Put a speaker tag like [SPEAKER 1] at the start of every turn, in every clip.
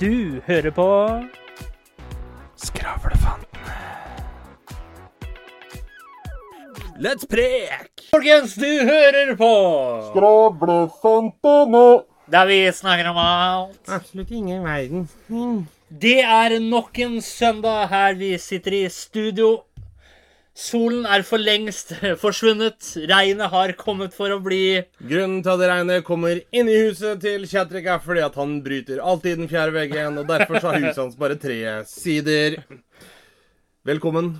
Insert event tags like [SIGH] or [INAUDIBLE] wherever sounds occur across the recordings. [SPEAKER 1] Du hører på
[SPEAKER 2] Skravlefantene.
[SPEAKER 1] Let's Prek! Folkens, du hører på
[SPEAKER 2] Skravlefantene.
[SPEAKER 1] Der vi snakker om alt.
[SPEAKER 2] Absolutt ingen i verden. Hm.
[SPEAKER 1] Det er nok en søndag her vi sitter i studio. Solen er for lengst forsvunnet. Regnet har kommet for å bli.
[SPEAKER 2] Grunnen til at regnet kommer inn i huset til Kjetrik, er fordi at han bryter alltid den fjerde veggen, og derfor så har huset hans bare tre sider. Velkommen.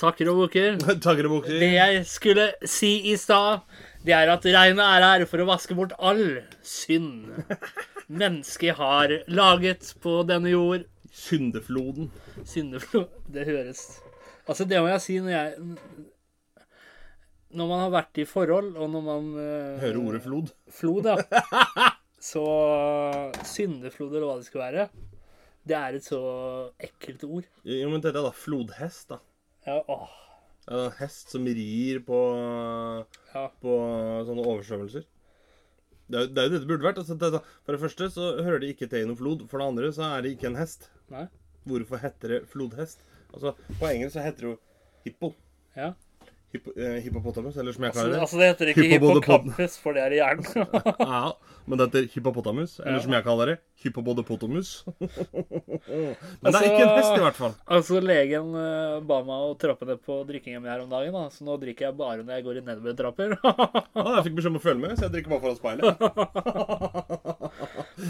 [SPEAKER 1] Takker og bukker.
[SPEAKER 2] Takker og bukser.
[SPEAKER 1] Det jeg skulle si i stad, det er at regnet er her for å vaske bort all synd mennesket har laget på denne jord.
[SPEAKER 2] Syndefloden.
[SPEAKER 1] Syndeflod. Det høres Altså, det må jeg si når jeg Når man har vært i forhold, og når man eh,
[SPEAKER 2] Hører ordet flod.
[SPEAKER 1] Flod, ja.
[SPEAKER 2] [LAUGHS]
[SPEAKER 1] Så Syndeflod, eller hva det skal være, det er et så ekkelt ord.
[SPEAKER 2] Jo, men dette er da flodhest, da.
[SPEAKER 1] Ja, åh,
[SPEAKER 2] Det er da hest som rir på,
[SPEAKER 1] ja.
[SPEAKER 2] på sånne oversvømmelser. Det er, det er jo det det burde vært. Altså, det er sånn- for det første så hører det ikke til i noen flod. For det andre så er det ikke en hest.
[SPEAKER 1] Nei.
[SPEAKER 2] Hvorfor heter det flodhest? Altså, På engelsk så heter det jo hippo.
[SPEAKER 1] Ja.
[SPEAKER 2] Hippo- eh, hippopotamus, eller som jeg
[SPEAKER 1] Altså,
[SPEAKER 2] kaller det.
[SPEAKER 1] altså, det heter ikke
[SPEAKER 2] Hypopodopod.
[SPEAKER 1] hippocampus, for det er i hjernen.
[SPEAKER 2] Ja, men det heter hippopotamus, eller som jeg kaller det, hippopotamus. [LAUGHS] men det er
[SPEAKER 1] Altså-
[SPEAKER 2] ikke en hest, i hvert fall.
[SPEAKER 1] Altså, legen eh, ba meg å trappe ned på drikkingen min her om dagen, da. så nå drikker jeg bare når jeg går i nedovertrapper.
[SPEAKER 2] Ah, jeg fikk beskjed om å følge med, så jeg drikker bare foran
[SPEAKER 1] [LAUGHS]
[SPEAKER 2] speilet.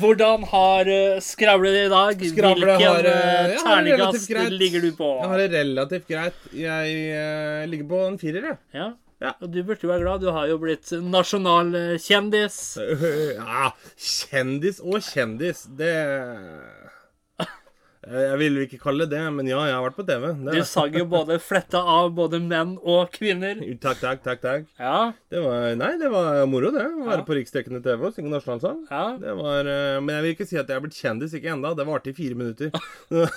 [SPEAKER 1] Hvordan har eh, skravlet det i dag?
[SPEAKER 2] Skravlet
[SPEAKER 1] Hvilken
[SPEAKER 2] har,
[SPEAKER 1] eh,
[SPEAKER 2] eh, ja, har det
[SPEAKER 1] terningkast
[SPEAKER 2] relativt greit.
[SPEAKER 1] ligger du på?
[SPEAKER 2] Jeg har det relativt greit. Jeg eh, ligger på en firer, jeg.
[SPEAKER 1] Ja.
[SPEAKER 2] Ja.
[SPEAKER 1] Og du burde jo være glad. Du har jo blitt nasjonal eh, kjendis.
[SPEAKER 2] [LAUGHS] Ja, kjendis og kjendis, det
[SPEAKER 1] [LAUGHS]
[SPEAKER 2] Eh, Jeg vil jo ikke kalle det det, men ja, jeg har vært på TV.
[SPEAKER 1] Du
[SPEAKER 2] Det.
[SPEAKER 1] sang jo både fletta av både menn og kvinner.
[SPEAKER 2] [LAUGHS] Takk, takk, takk. takk.
[SPEAKER 1] Ja.
[SPEAKER 2] Det var, nei, det var moro, det. Å
[SPEAKER 1] Ja.
[SPEAKER 2] være på riksdekkende TV og synge nasjonalsang.
[SPEAKER 1] ja.
[SPEAKER 2] Det var, eh, men jeg vil ikke si at jeg er blitt kjendis. Ikke enda. Det varte i
[SPEAKER 1] [LAUGHS]
[SPEAKER 2] fire minutter. [LAUGHS]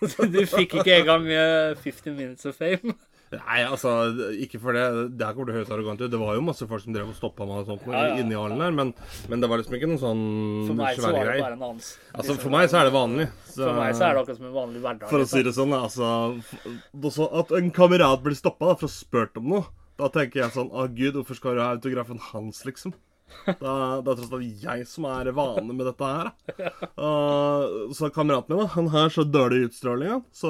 [SPEAKER 1] Du fikk ikke engang eh, 50 minutes of fame.
[SPEAKER 2] Nei, altså, ikke for det. Det her kommer til å høres arrogant ut. Det var jo masse folk som drev og stoppa meg og sånt
[SPEAKER 1] Ja, ja,
[SPEAKER 2] inni hallen her, men, men det var liksom ikke noen sånn
[SPEAKER 1] For meg så
[SPEAKER 2] svære
[SPEAKER 1] var det
[SPEAKER 2] greier.
[SPEAKER 1] bare en annons.
[SPEAKER 2] Altså, for meg så er det vanlig. Så-
[SPEAKER 1] For meg så er det akkurat som en vanlig hverdag.
[SPEAKER 2] For å si det sånn, altså f- også At en kamerat blir stoppa for å ha spurt om noe, da tenker jeg sånn Å, gud, hvorfor skal du ha autografen hans, liksom? Da, det er tross alt jeg som er vane med dette her. da. Og så kameraten min, da. Han har så dårlig utstråling, han. Så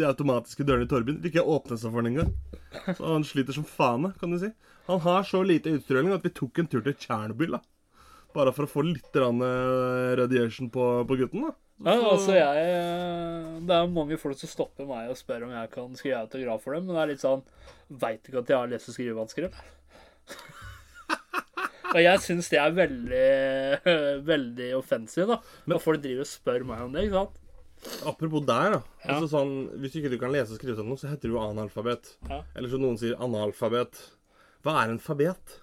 [SPEAKER 2] de automatiske dørene i Torben vil ikke åpne seg for ham engang. Så han sliter som faen, da, kan du si. Han har så lite utstråling at vi tok en tur til Tsjernobyl, da. Bare for å få litt grann, eh, radiation på, på gutten, da.
[SPEAKER 1] Ja, altså jeg eh, Det er mange folk som stopper meg og spør om jeg kan skrive autograf for dem, men det er litt sånn Veit ikke at jeg har lese- og skrivevansker? eller? Og jeg syns det er veldig veldig [LAUGHS] offensive, da. Når folk driver og spør meg om det, ikke sant? [LAUGHS]
[SPEAKER 2] Apropos der, da.
[SPEAKER 1] Ja.
[SPEAKER 2] Altså sånn, hvis ikke du kan lese og skrive sånn noe, så heter du jo analfabet.
[SPEAKER 1] Ja.
[SPEAKER 2] Eller som noen sier, analfabet. Hva er en fabet?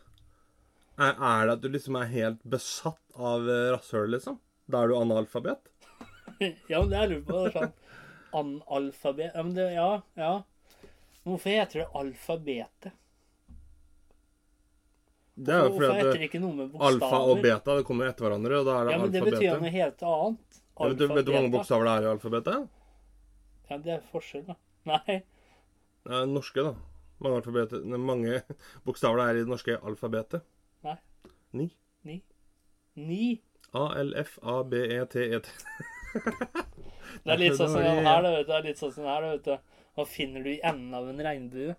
[SPEAKER 2] Er, er det at du liksom er helt besatt av eh, rasshøl, liksom? Da er du analfabet?
[SPEAKER 1] Ja, men det jeg lurer på, det er sånn analfabet Ja, men det, ja, ja. Men Hvorfor heter det alfabetet?
[SPEAKER 2] Det er jo
[SPEAKER 1] Hvorfor
[SPEAKER 2] fordi
[SPEAKER 1] heter
[SPEAKER 2] at eh,
[SPEAKER 1] det ikke noe med bokstaver?
[SPEAKER 2] alfa og beta det kommer jo etter hverandre, og da er det
[SPEAKER 1] Ja, men det
[SPEAKER 2] alfabetet.
[SPEAKER 1] betyr jo noe helt annet.
[SPEAKER 2] Ja, vet, du, vet du hvor
[SPEAKER 1] Alfabeta.
[SPEAKER 2] mange bokstaver det er i alfabetet?
[SPEAKER 1] Ja, det er forskjell, da. Nei.
[SPEAKER 2] Det er norske, da. Mange, alfabeter- nei, mange [LAUGHS] bokstaver det er i det norske alfabetet.
[SPEAKER 1] Nei.
[SPEAKER 2] Ni.
[SPEAKER 1] Ni. Ni.
[SPEAKER 2] E, A-L-F-A-B-E-T-E-T.
[SPEAKER 1] Det er litt sånn som
[SPEAKER 2] Det var
[SPEAKER 1] den
[SPEAKER 2] de-
[SPEAKER 1] her, da, vet du. Det er litt sånn som den her, da, vet du. Hva finner du i enden av en regnbue?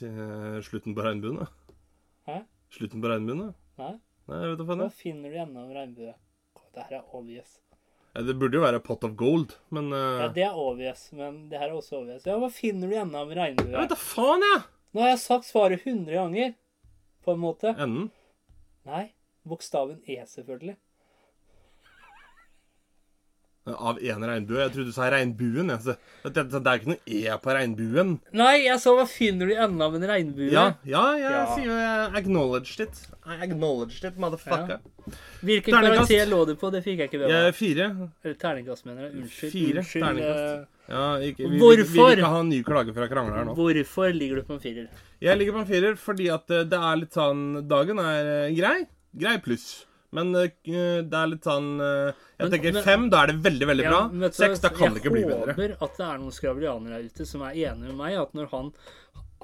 [SPEAKER 2] Eh, Slutten på regnbuen, da?
[SPEAKER 1] Hæ?
[SPEAKER 2] Slutten på regnbuen, da?
[SPEAKER 1] Nei?
[SPEAKER 2] Nei, jeg vet da faen.
[SPEAKER 1] Hva
[SPEAKER 2] jeg.
[SPEAKER 1] finner du i enden av en regnbue? Det her er obvious.
[SPEAKER 2] Ja, Eh, det burde jo være Pot of Gold, men eh,
[SPEAKER 1] Ja, det er obvious, men det her er også obvious. Ja, hva finner du i enden av en
[SPEAKER 2] Jeg
[SPEAKER 1] regnbue?
[SPEAKER 2] vet da faen, jeg!
[SPEAKER 1] Nå har jeg sagt svaret 100 ganger, på en måte.
[SPEAKER 2] Enden.
[SPEAKER 1] Nei. Bokstaven E, selvfølgelig.
[SPEAKER 2] Eh, Av én regnbue. Jeg trodde du sa regnbuen. Jeg. Så det, det, det er jo ikke noe E på regnbuen.
[SPEAKER 1] Nei, jeg sa hva finner du i enden av en regnbue?
[SPEAKER 2] Ja, ja, jeg
[SPEAKER 1] Ja.
[SPEAKER 2] sier jo jeg acknowledged it. I acknowledged it, motherfucker.
[SPEAKER 1] Hvilken
[SPEAKER 2] Terningkast.
[SPEAKER 1] karakter lå det på? Det fikk jeg ikke med
[SPEAKER 2] Jeg
[SPEAKER 1] meg.
[SPEAKER 2] er fire.
[SPEAKER 1] Eller Terningkast, mener jeg. Unnskyld.
[SPEAKER 2] Fire.
[SPEAKER 1] Unnskyld. eh,
[SPEAKER 2] Terningkast. Ja, ikke, vi, Vi, vi
[SPEAKER 1] Hvorfor?
[SPEAKER 2] vil ikke ha en ny klage fra krangler
[SPEAKER 1] eh,
[SPEAKER 2] her nå.
[SPEAKER 1] Hvorfor ligger du på en firer?
[SPEAKER 2] Jeg ligger på en firer fordi at eh, det er litt sånn Dagen er eh, grei. Grei pluss. Men eh, det er litt sånn eh, Jeg
[SPEAKER 1] Men-
[SPEAKER 2] tenker
[SPEAKER 1] men-
[SPEAKER 2] fem, da er det veldig, veldig bra.
[SPEAKER 1] men vet du
[SPEAKER 2] Seks,
[SPEAKER 1] hva,
[SPEAKER 2] da kan det ikke bli
[SPEAKER 1] Jeg
[SPEAKER 2] bedre.
[SPEAKER 1] håper at det er noen skravlianere her ute som er enige med meg, at når han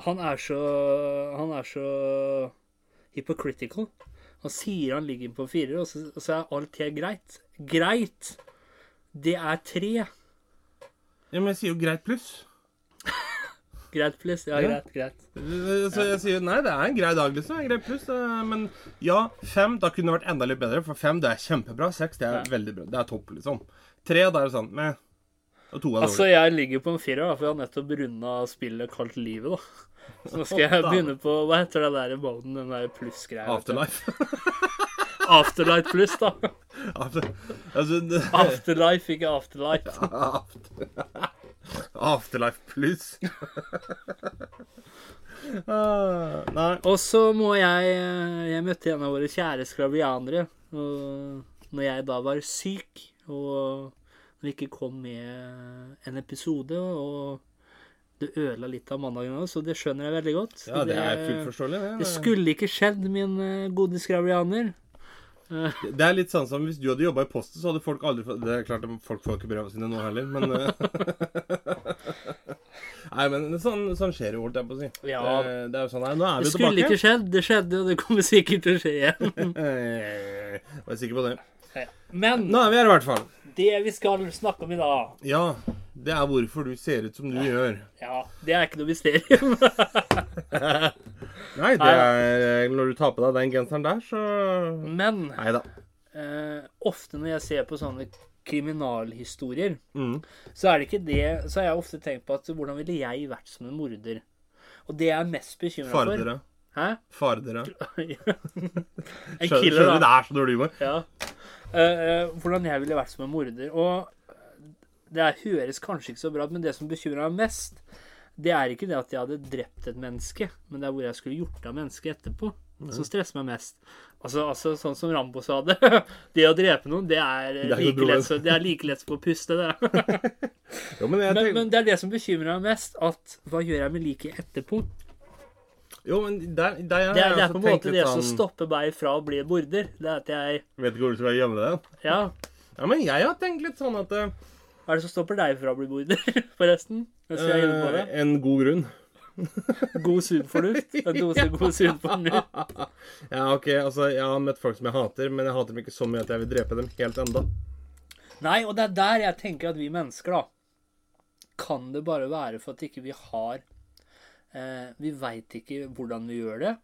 [SPEAKER 1] Han er så Han er så hypocritical. Han sier han ligger på fire, og så, og så er alt helt greit. Greit! Det er tre.
[SPEAKER 2] Ja, men jeg sier jo greit pluss.
[SPEAKER 1] Greit, please. Ja,
[SPEAKER 2] Ja.
[SPEAKER 1] greit, greit.
[SPEAKER 2] Eh, Så jeg sier nei, det er en grei dag, liksom. En grei pluss. eh, Men ja, fem da kunne det vært enda litt bedre, for fem det er kjempebra. Seks det er veldig bra. Det er topp, liksom. Tre da er det sånn meh. Og to er dårlig.
[SPEAKER 1] Altså, jeg ligger på en firer, da, for jeg har nettopp runda spillet Kalt livet, da. Så nå skal jeg
[SPEAKER 2] Åtta.
[SPEAKER 1] begynne på Hva heter det der i boden? Den der pluss-greia? vet du?
[SPEAKER 2] Afterlife. [LAUGHS]
[SPEAKER 1] Afterlife pluss, da.
[SPEAKER 2] After, altså, det-
[SPEAKER 1] Afterlife, ikke afterlife.
[SPEAKER 2] After, [LAUGHS] afterlife pluss. [LAUGHS] Ah, nei.
[SPEAKER 1] Og så må jeg eh, Jeg møtte en av våre kjære skrabianere og når jeg da var syk, og når det ikke kom med en episode, og det ødela litt av mandagen òg, så det skjønner jeg veldig godt.
[SPEAKER 2] Ja, det er fullt forståelig, det.
[SPEAKER 1] Det skulle ikke skjedd, min eh, gode skrabianer.
[SPEAKER 2] Det er litt sånn som hvis du hadde jobba i Posten, så hadde folk aldri fått Det er klart at folk får ikke brevene sine nå heller, men eh, [LAUGHS] Nei, men sånn, sånn skjer jo, holdt jeg på å si.
[SPEAKER 1] Ja.
[SPEAKER 2] Det, det er jo sånn Nei, nå er
[SPEAKER 1] Det
[SPEAKER 2] vi
[SPEAKER 1] skulle
[SPEAKER 2] tilbake.
[SPEAKER 1] ikke skjedd. Det skjedde, og det kommer sikkert til å skje
[SPEAKER 2] [LAUGHS]
[SPEAKER 1] igjen.
[SPEAKER 2] Eh, Jeg er sikker på det.
[SPEAKER 1] Men
[SPEAKER 2] Nå er vi her, i hvert fall.
[SPEAKER 1] det vi skal snakke om i dag,
[SPEAKER 2] Ja. Det er hvorfor du ser ut som du gjør.
[SPEAKER 1] ja, det er ikke noe mysterium. [LAUGHS]
[SPEAKER 2] Nei, det er eh, Når du tar på deg den genseren der, så
[SPEAKER 1] Men
[SPEAKER 2] Nei da.
[SPEAKER 1] eh, ofte når jeg ser på sånne kriminalhistorier,
[SPEAKER 2] Mm.
[SPEAKER 1] så er det ikke det Så har jeg ofte tenkt på at hvordan ville jeg vært som en morder? Og det jeg er mest bekymra for
[SPEAKER 2] Fare dere.
[SPEAKER 1] Hæ? [LAUGHS]
[SPEAKER 2] Fare dere.
[SPEAKER 1] en
[SPEAKER 2] Skjønner,
[SPEAKER 1] killer,
[SPEAKER 2] skjønner
[SPEAKER 1] da.
[SPEAKER 2] det er så dårlig humor.
[SPEAKER 1] Ja. Eh, eh, hvordan jeg ville vært som en morder. Og det høres kanskje ikke så bra ut, men det som bekymrer meg mest, det er ikke det at jeg hadde drept et menneske, men det er hvor jeg skulle gjort av mennesket etterpå. Som stresser meg mest. Altså, altså, sånn som Rambo sa det. [LAUGHS] Det å drepe noen, det er,
[SPEAKER 2] Det er ikke
[SPEAKER 1] like,
[SPEAKER 2] noe
[SPEAKER 1] lett, som- det er like lett som å puste, det. [LAUGHS]
[SPEAKER 2] Jo, men jeg
[SPEAKER 1] Men,
[SPEAKER 2] tenker-
[SPEAKER 1] men det er det som bekymrer meg mest, at hva gjør jeg med liket etterpå?
[SPEAKER 2] jo, men der, der, jeg
[SPEAKER 1] Det er,
[SPEAKER 2] har
[SPEAKER 1] det er
[SPEAKER 2] også
[SPEAKER 1] på en
[SPEAKER 2] tenkt
[SPEAKER 1] måte
[SPEAKER 2] litt
[SPEAKER 1] det som
[SPEAKER 2] sånn-
[SPEAKER 1] stopper meg fra å bli en morder. Det er at jeg
[SPEAKER 2] Vet ikke hvor du skal gjemme deg.
[SPEAKER 1] Ja.
[SPEAKER 2] Ja, men jeg har tenkt litt sånn at eh,
[SPEAKER 1] Hva er det som stopper deg fra å bli morder, [LAUGHS] forresten? Jeg skal jeg på det.
[SPEAKER 2] eh, En god grunn. Eh,
[SPEAKER 1] God sunn fornuft. [LAUGHS] En dose god sunn fornuft.
[SPEAKER 2] Ja, ok, altså, Jeg har møtt folk som jeg hater, men jeg hater dem ikke så mye at jeg vil drepe dem helt enda.
[SPEAKER 1] Nei, og det er der jeg tenker at vi mennesker, da Kan det bare være for at ikke vi har eh, Vi veit ikke hvordan vi gjør det.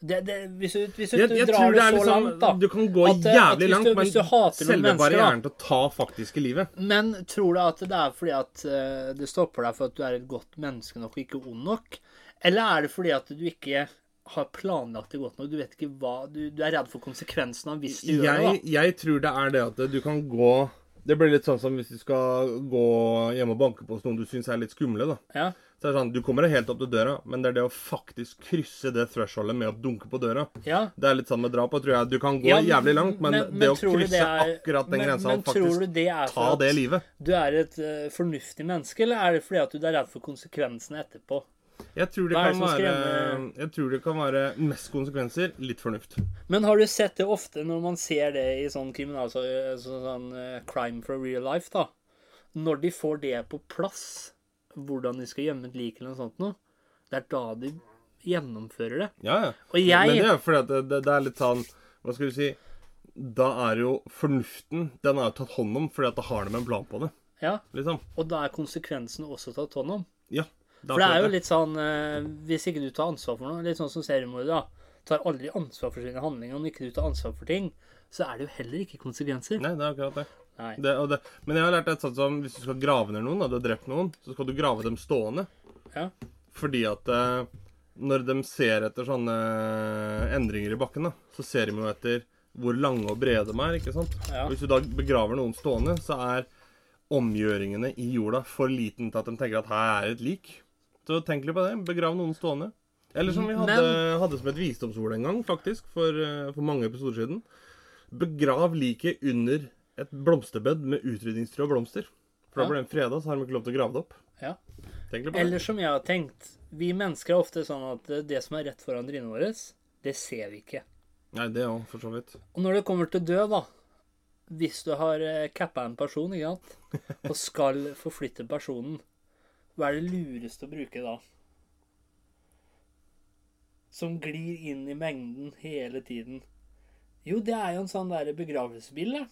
[SPEAKER 1] det, det hvis du, hvis du
[SPEAKER 2] Jeg, jeg
[SPEAKER 1] drar
[SPEAKER 2] tror det
[SPEAKER 1] det
[SPEAKER 2] er
[SPEAKER 1] så
[SPEAKER 2] liksom,
[SPEAKER 1] langt, da
[SPEAKER 2] Du kan gå
[SPEAKER 1] at, eh, at hvis
[SPEAKER 2] jævlig
[SPEAKER 1] du-
[SPEAKER 2] langt,
[SPEAKER 1] hvis du hater noen
[SPEAKER 2] men selve
[SPEAKER 1] mennesker,
[SPEAKER 2] barrieren til å ta faktiske livet
[SPEAKER 1] Men tror du at det er fordi at eh, det stopper deg for at du er et godt menneske nok og ikke ond nok? Eller er det fordi at du ikke har planlagt det godt nok? Du vet ikke hva Du, du er redd for konsekvensene av hvis du gjør det,
[SPEAKER 2] jeg,
[SPEAKER 1] da.
[SPEAKER 2] jeg tror det er det at du kan gå Det blir litt sånn som hvis du skal gå hjemme og banke på hos noen du syns er litt skumle, da.
[SPEAKER 1] Ja.
[SPEAKER 2] Så det er sånn, Du kommer deg helt opp til døra, men det er det å faktisk krysse det thresholdet med å dunke på døra.
[SPEAKER 1] ja.
[SPEAKER 2] Det er litt sånn med drap, og tror jeg. Du kan gå
[SPEAKER 1] Ja, men-
[SPEAKER 2] jævlig langt, men,
[SPEAKER 1] men-
[SPEAKER 2] det
[SPEAKER 1] men
[SPEAKER 2] å
[SPEAKER 1] tror du
[SPEAKER 2] krysse
[SPEAKER 1] det er-
[SPEAKER 2] akkurat den
[SPEAKER 1] men-
[SPEAKER 2] grensa
[SPEAKER 1] men
[SPEAKER 2] og
[SPEAKER 1] tror du
[SPEAKER 2] faktisk
[SPEAKER 1] det er
[SPEAKER 2] ta
[SPEAKER 1] for at-
[SPEAKER 2] det livet
[SPEAKER 1] Du er et eh, fornuftig menneske, eller er det fordi at du er redd for konsekvensene etterpå?
[SPEAKER 2] jeg tror, det
[SPEAKER 1] Hva er det
[SPEAKER 2] kan
[SPEAKER 1] som
[SPEAKER 2] være,
[SPEAKER 1] skremmer-
[SPEAKER 2] jeg tror det kan være mest konsekvenser, litt fornuft.
[SPEAKER 1] Men har du sett det ofte når man ser det i sånn kriminal... så- Sånn, sånn eh, crime for real life, da? Når de får det på plass, hvordan de skal gjemme et lik eller noe sånt noe, det er da de gjennomfører det.
[SPEAKER 2] Ja, ja.
[SPEAKER 1] Og jeg-
[SPEAKER 2] Men det er jo fordi at det, det, det er litt sånn Hva skal du si Da er jo fornuften Den er jo tatt hånd om fordi at da har de en plan på det.
[SPEAKER 1] Ja,
[SPEAKER 2] Liksom.
[SPEAKER 1] Og da er konsekvensene også tatt hånd om.
[SPEAKER 2] Ja.
[SPEAKER 1] For det er jo litt sånn eh, Hvis ikke du tar ansvar for noe, litt sånn som seriemordere, da. Tar aldri ansvar for sine handlinger. Om ikke du tar ansvar for ting, så er det jo heller ikke konsekvenser.
[SPEAKER 2] Nei, det er akkurat det.
[SPEAKER 1] Nei.
[SPEAKER 2] det, og det. Men jeg har lært et sånt som hvis du skal grave ned noen, da, du har drept noen, så skal du grave dem stående.
[SPEAKER 1] Ja.
[SPEAKER 2] Fordi at eh, når de ser etter sånne eh, endringer i bakken, da, så ser de jo etter hvor lange og brede de er. ikke sant?
[SPEAKER 1] Ja.
[SPEAKER 2] Hvis du da begraver noen stående, så er omgjøringene i jorda for liten til at de tenker at her er et lik. Så tenk litt på det. Begrav noen stående. Eller som vi hadde,
[SPEAKER 1] Men-
[SPEAKER 2] hadde som et visdomsord en gang, faktisk, for, eh, for mange episoder siden. Begrav liket under et blomsterbed med utrydningstrua blomster. For
[SPEAKER 1] Ja.
[SPEAKER 2] da blir den freda, så har de ikke lov til å grave det opp.
[SPEAKER 1] Ja.
[SPEAKER 2] Tenk litt på det.
[SPEAKER 1] Eller som jeg har tenkt Vi mennesker er ofte sånn at det som er rett foran trynet vårt, det ser vi ikke.
[SPEAKER 2] Nei, det òg, for så vidt.
[SPEAKER 1] Og når det kommer til død, da Hvis du har eh, cappa en person ikke sant? og skal forflytte personen, hva er det lureste å bruke da? Som glir inn i mengden hele tiden. Jo, det er jo en sånn der begravelsesbil. da.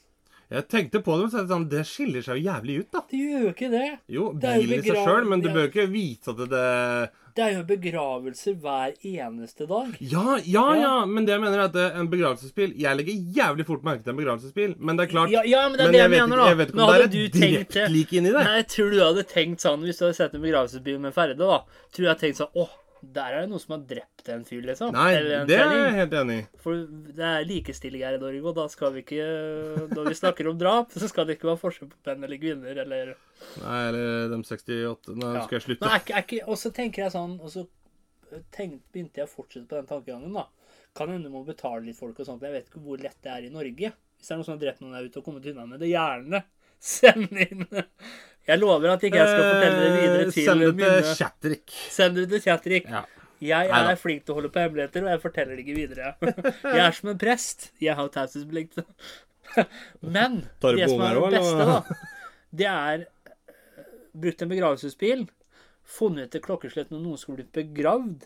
[SPEAKER 2] Jeg tenkte på det, men så er det sånn, det skiller seg jo jævlig ut, da.
[SPEAKER 1] Det gjør jo ikke det.
[SPEAKER 2] Jo,
[SPEAKER 1] Det er jo
[SPEAKER 2] bilen i seg
[SPEAKER 1] begrav-
[SPEAKER 2] sjøl, men du
[SPEAKER 1] ja.
[SPEAKER 2] bør ikke vite at det, det
[SPEAKER 1] Det er jo begravelser hver eneste dag.
[SPEAKER 2] ja, ja, ja, men det jeg mener er at det er en begravelsesbil Jeg legger jævlig fort merke til en begravelsesbil, men det er klart
[SPEAKER 1] Ja, ja men det er det jeg,
[SPEAKER 2] Men jeg vet
[SPEAKER 1] mener,
[SPEAKER 2] ikke-
[SPEAKER 1] da.
[SPEAKER 2] jeg vet
[SPEAKER 1] Nå
[SPEAKER 2] ikke om det
[SPEAKER 1] hadde
[SPEAKER 2] er
[SPEAKER 1] du
[SPEAKER 2] et
[SPEAKER 1] tenkt
[SPEAKER 2] direkte lik inni der.
[SPEAKER 1] Nei, jeg tror du hadde tenkt sånn hvis du hadde sett en begravelsesbil med Ferde, da. Tror jeg hadde tenkt sånn Å, der er det noen som har drept en fyr, liksom.
[SPEAKER 2] Nei,
[SPEAKER 1] Eller en
[SPEAKER 2] det er
[SPEAKER 1] kjerring.
[SPEAKER 2] jeg helt enig i.
[SPEAKER 1] For det er likestilling her i Norge, og da skal vi ikke Når vi snakker om drap, [LAUGHS] så skal det ikke være forskjell på menn eller kvinner eller
[SPEAKER 2] Nei, eller eh, de 68 Nei,
[SPEAKER 1] ja.
[SPEAKER 2] nå skal jeg
[SPEAKER 1] Nå
[SPEAKER 2] slutte.
[SPEAKER 1] er ikke- er ikke- Og så tenker jeg sånn, og så tenk, begynte jeg å fortsette på den tankegangen, da. Kan hende du må betale litt folk og sånt. Jeg vet ikke hvor lett det er i Norge. Hvis det er noen som har drept noen der ute og kommet unna med det, gjerne [LAUGHS] send inn Jeg lover at ikke jeg skal fortelle det videre til
[SPEAKER 2] Eh, Send det til
[SPEAKER 1] mine
[SPEAKER 2] Chatrik.
[SPEAKER 1] Send det til Chatrik.
[SPEAKER 2] Ja.
[SPEAKER 1] Jeg
[SPEAKER 2] Neida.
[SPEAKER 1] er flink til å holde på hemmeligheter, og jeg forteller det ikke videre. [LAUGHS] Jeg er som en prest. Jeg har taushetsplikt. [LAUGHS] Men
[SPEAKER 2] Tar du
[SPEAKER 1] det
[SPEAKER 2] på
[SPEAKER 1] som er
[SPEAKER 2] unger
[SPEAKER 1] det
[SPEAKER 2] også, [LAUGHS]
[SPEAKER 1] beste,
[SPEAKER 2] eller?
[SPEAKER 1] da, det er eh, brukt en begravelsesbil, funnet et klokkeslett når noen skulle blitt begravd.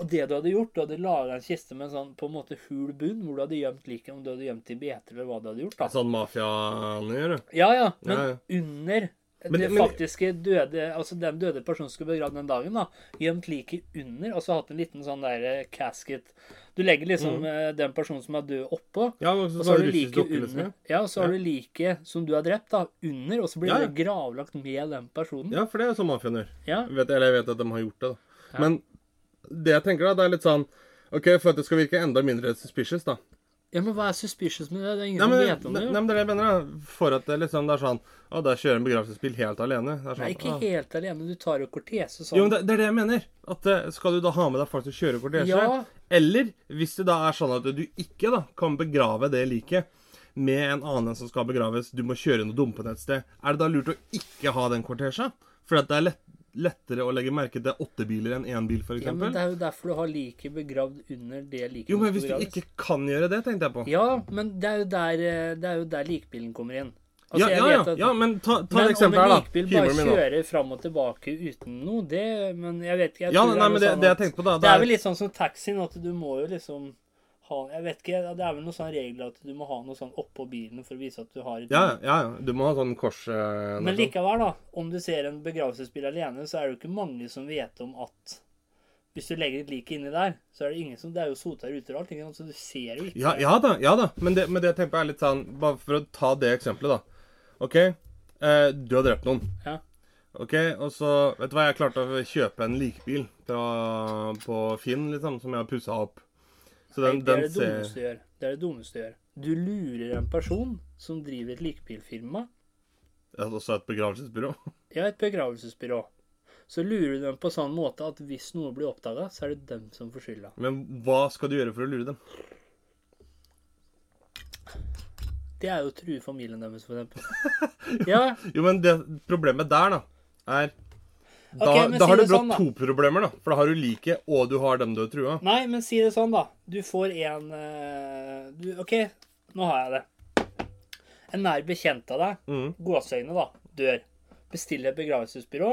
[SPEAKER 1] Og det du hadde gjort, du hadde laga en kiste med en sånn på en måte hul bunn, hvor du hadde gjemt liket, om du hadde gjemt i beter eller hva du hadde gjort. da.
[SPEAKER 2] Sånn mafiaen gjør, du.
[SPEAKER 1] Ja, ja. Men
[SPEAKER 2] Ja, ja.
[SPEAKER 1] under
[SPEAKER 2] Men-
[SPEAKER 1] det
[SPEAKER 2] men-
[SPEAKER 1] faktiske døde Altså den døde personen som skulle begravd den dagen, da. Gjemt liket under, og så hatt en liten sånn der eh, casket Du legger liksom eh, den personen som er død, oppå.
[SPEAKER 2] Ja, men Mhm. så,
[SPEAKER 1] Og så
[SPEAKER 2] så
[SPEAKER 1] har
[SPEAKER 2] er
[SPEAKER 1] du
[SPEAKER 2] det russisk
[SPEAKER 1] liket
[SPEAKER 2] dokke, liksom.
[SPEAKER 1] under. Ja, og så har du liket som du har drept, da, under, og så blir
[SPEAKER 2] Ja, ja.
[SPEAKER 1] det gravlagt med den personen.
[SPEAKER 2] Ja, for det er sånn mafiaen gjør.
[SPEAKER 1] Ja.
[SPEAKER 2] Jeg vet, eller jeg vet at de har gjort det, da. Men det jeg tenker, da, det er litt sånn OK, for at det skal virke enda mindre suspicious, da.
[SPEAKER 1] ja, men hva er suspicious med det? Det er ingen
[SPEAKER 2] Nei, men,
[SPEAKER 1] som vet om
[SPEAKER 2] nei,
[SPEAKER 1] det. jo.
[SPEAKER 2] nei, men det er det jeg mener, da. For at det liksom det er sånn Å, der kjører en begravelsesbil helt alene. Det er sånn,
[SPEAKER 1] Nei, ikke
[SPEAKER 2] ah.
[SPEAKER 1] helt alene. Du tar jo kortese og sånn.
[SPEAKER 2] Jo, men det, det er det jeg mener. At eh, Skal du da ha med deg folk som kjører kortesje?
[SPEAKER 1] Ja.
[SPEAKER 2] Eller hvis det da er sånn at du ikke da kan begrave det liket med en annen som skal begraves, du må kjøre inn og dumpe det et sted, er det da lurt å ikke ha den kortesja? For at det er lett, lettere å legge merke til åtte biler enn én bil, f.eks.
[SPEAKER 1] ja, men det er jo derfor du har liket begravd under det liket
[SPEAKER 2] Jo,
[SPEAKER 1] som
[SPEAKER 2] men
[SPEAKER 1] skal
[SPEAKER 2] hvis du
[SPEAKER 1] begraves.
[SPEAKER 2] ikke kan gjøre det, tenkte jeg på.
[SPEAKER 1] Ja, men det er jo der, eh, det er jo der likbilen kommer inn.
[SPEAKER 2] Ja,
[SPEAKER 1] Altså, jeg
[SPEAKER 2] ja,
[SPEAKER 1] vet
[SPEAKER 2] ja,
[SPEAKER 1] at-
[SPEAKER 2] ja, men ta, ta
[SPEAKER 1] men
[SPEAKER 2] et eksempel her,
[SPEAKER 1] Om en
[SPEAKER 2] da.
[SPEAKER 1] likbil bare
[SPEAKER 2] Humor min, da.
[SPEAKER 1] kjører fram og tilbake uten noe, det Men jeg vet ikke. Jeg
[SPEAKER 2] Ja,
[SPEAKER 1] tror
[SPEAKER 2] nei,
[SPEAKER 1] er noe
[SPEAKER 2] men det,
[SPEAKER 1] sånn
[SPEAKER 2] det jeg
[SPEAKER 1] at-
[SPEAKER 2] tenkte på, da
[SPEAKER 1] Det er vel
[SPEAKER 2] det er,
[SPEAKER 1] litt sånn som taxien, at du må jo liksom ha Jeg vet ikke, det er vel noen sånne regler at du må ha noe sånn oppå bilen for å vise at du har et
[SPEAKER 2] ja, ja, ja. Du må ha sånn kors... eh,
[SPEAKER 1] Men
[SPEAKER 2] noe sånt.
[SPEAKER 1] likevel, da. Om du ser en begravelsesbil alene, så er det jo ikke mange som vet om at hvis du legger et lik inni der, så er det ingen som Det er jo sota ruter og alt, ikke sant, så du ser jo ikke
[SPEAKER 2] Ja, ja da, ja da. Men det, men det jeg tenker på er litt sånn Bare for å ta det eksempelet, da. OK, eh, du har drept noen.
[SPEAKER 1] Ja.
[SPEAKER 2] OK, og så Vet du hva, jeg klarte å kjøpe en likbil fra, på Finn, liksom, som jeg har pussa opp. Så den,
[SPEAKER 1] Nei, det er
[SPEAKER 2] den
[SPEAKER 1] det
[SPEAKER 2] ser
[SPEAKER 1] dummeste du gjør. Det er det dummeste du gjør. Du lurer en person som driver et likebilfirma,
[SPEAKER 2] Det er også et begravelsesbyrå. [LAUGHS]
[SPEAKER 1] ja, et begravelsesbyrå. Så lurer du dem på sånn måte at hvis noe blir oppdaga, så er det dem som får skylda.
[SPEAKER 2] Men hva skal du gjøre for å lure dem?
[SPEAKER 1] Det er jo å true familien deres, for eksempel.
[SPEAKER 2] [LAUGHS]
[SPEAKER 1] Ja,
[SPEAKER 2] Jo, men det problemet der, da, er Da,
[SPEAKER 1] Ok, men
[SPEAKER 2] da
[SPEAKER 1] si
[SPEAKER 2] har du
[SPEAKER 1] det
[SPEAKER 2] brått
[SPEAKER 1] sånn, da.
[SPEAKER 2] to problemer, da. For da har du liket, og du har dem du har trua.
[SPEAKER 1] nei, men si det sånn, da. Du får en eh, du, OK, nå har jeg det. En nær bekjent av deg,
[SPEAKER 2] Mhm.
[SPEAKER 1] gåseøyne, da, dør. Bestiller et begravelsesbyrå,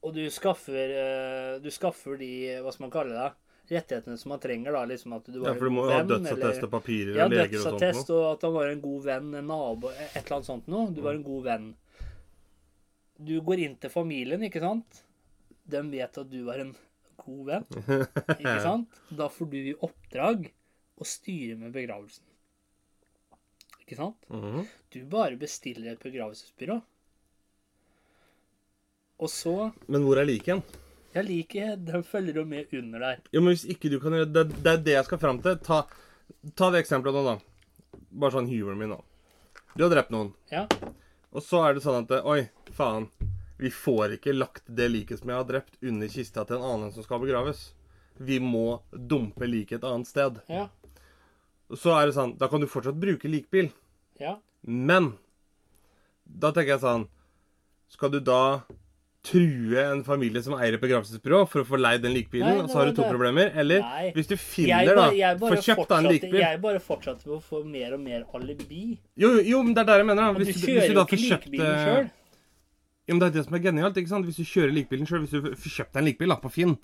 [SPEAKER 1] og du skaffer eh, Du skaffer de, hva skal man kalle det, rettighetene som man trenger, da. Liksom at du
[SPEAKER 2] Ja,
[SPEAKER 1] var
[SPEAKER 2] for du må jo ha
[SPEAKER 1] en god venn,
[SPEAKER 2] dødsattest og
[SPEAKER 1] eller
[SPEAKER 2] papirer
[SPEAKER 1] Ja,
[SPEAKER 2] og leger og sånt. noe.
[SPEAKER 1] dødsattest, og at han var en god venn, en nabo, et eller annet sånt noe.
[SPEAKER 2] Mm.
[SPEAKER 1] Du var en god venn. Du går inn til familien, ikke sant? De vet at du var en god venn, ikke
[SPEAKER 2] [LAUGHS]
[SPEAKER 1] sant? Da får du i oppdrag å styre med begravelsen. Ikke sant?
[SPEAKER 2] Mhm.
[SPEAKER 1] Du bare bestiller et begravelsesbyrå. Og så
[SPEAKER 2] Men hvor er liken?
[SPEAKER 1] Jeg liker De følger jo med under der.
[SPEAKER 2] Jo, men hvis ikke du kan gjøre det, det er det jeg skal fram til. Ta, ta det eksempelet nå, da. Bare sånn humoren min nå. Du har drept noen,
[SPEAKER 1] Ja.
[SPEAKER 2] og så er det sånn at Oi, faen. Vi får ikke lagt det liket som jeg har drept, under kista til en annen som skal begraves. Vi må dumpe liket et annet sted.
[SPEAKER 1] Ja.
[SPEAKER 2] Så er det sånn Da kan du fortsatt bruke likbil.
[SPEAKER 1] Ja.
[SPEAKER 2] Men da tenker jeg sånn Skal du da true en familie som eier et begravelsesbyrå, for å få leid den
[SPEAKER 1] Nei,
[SPEAKER 2] likbilen,
[SPEAKER 1] det
[SPEAKER 2] og så har du to
[SPEAKER 1] var det.
[SPEAKER 2] problemer. Eller
[SPEAKER 1] Nei.
[SPEAKER 2] hvis du
[SPEAKER 1] Jeg
[SPEAKER 2] finner, da,
[SPEAKER 1] bare, jeg bare
[SPEAKER 2] får kjøpt deg en
[SPEAKER 1] fortsatte-
[SPEAKER 2] likbil
[SPEAKER 1] Jeg bare fortsatte med å få mer og mer alibi.
[SPEAKER 2] Jo, jo, men det er der jeg mener, da.
[SPEAKER 1] Og du
[SPEAKER 2] Hvis, du-
[SPEAKER 1] kjører
[SPEAKER 2] hvis
[SPEAKER 1] jo
[SPEAKER 2] du da
[SPEAKER 1] ikke
[SPEAKER 2] får kjøpt
[SPEAKER 1] likbilen
[SPEAKER 2] eh,
[SPEAKER 1] sjøl.
[SPEAKER 2] Jo, men det er det som er genialt, ikke sant? Hvis du kjører likbilen sjøl, hvis du f- får kjøpt deg en likbil da, på Finn,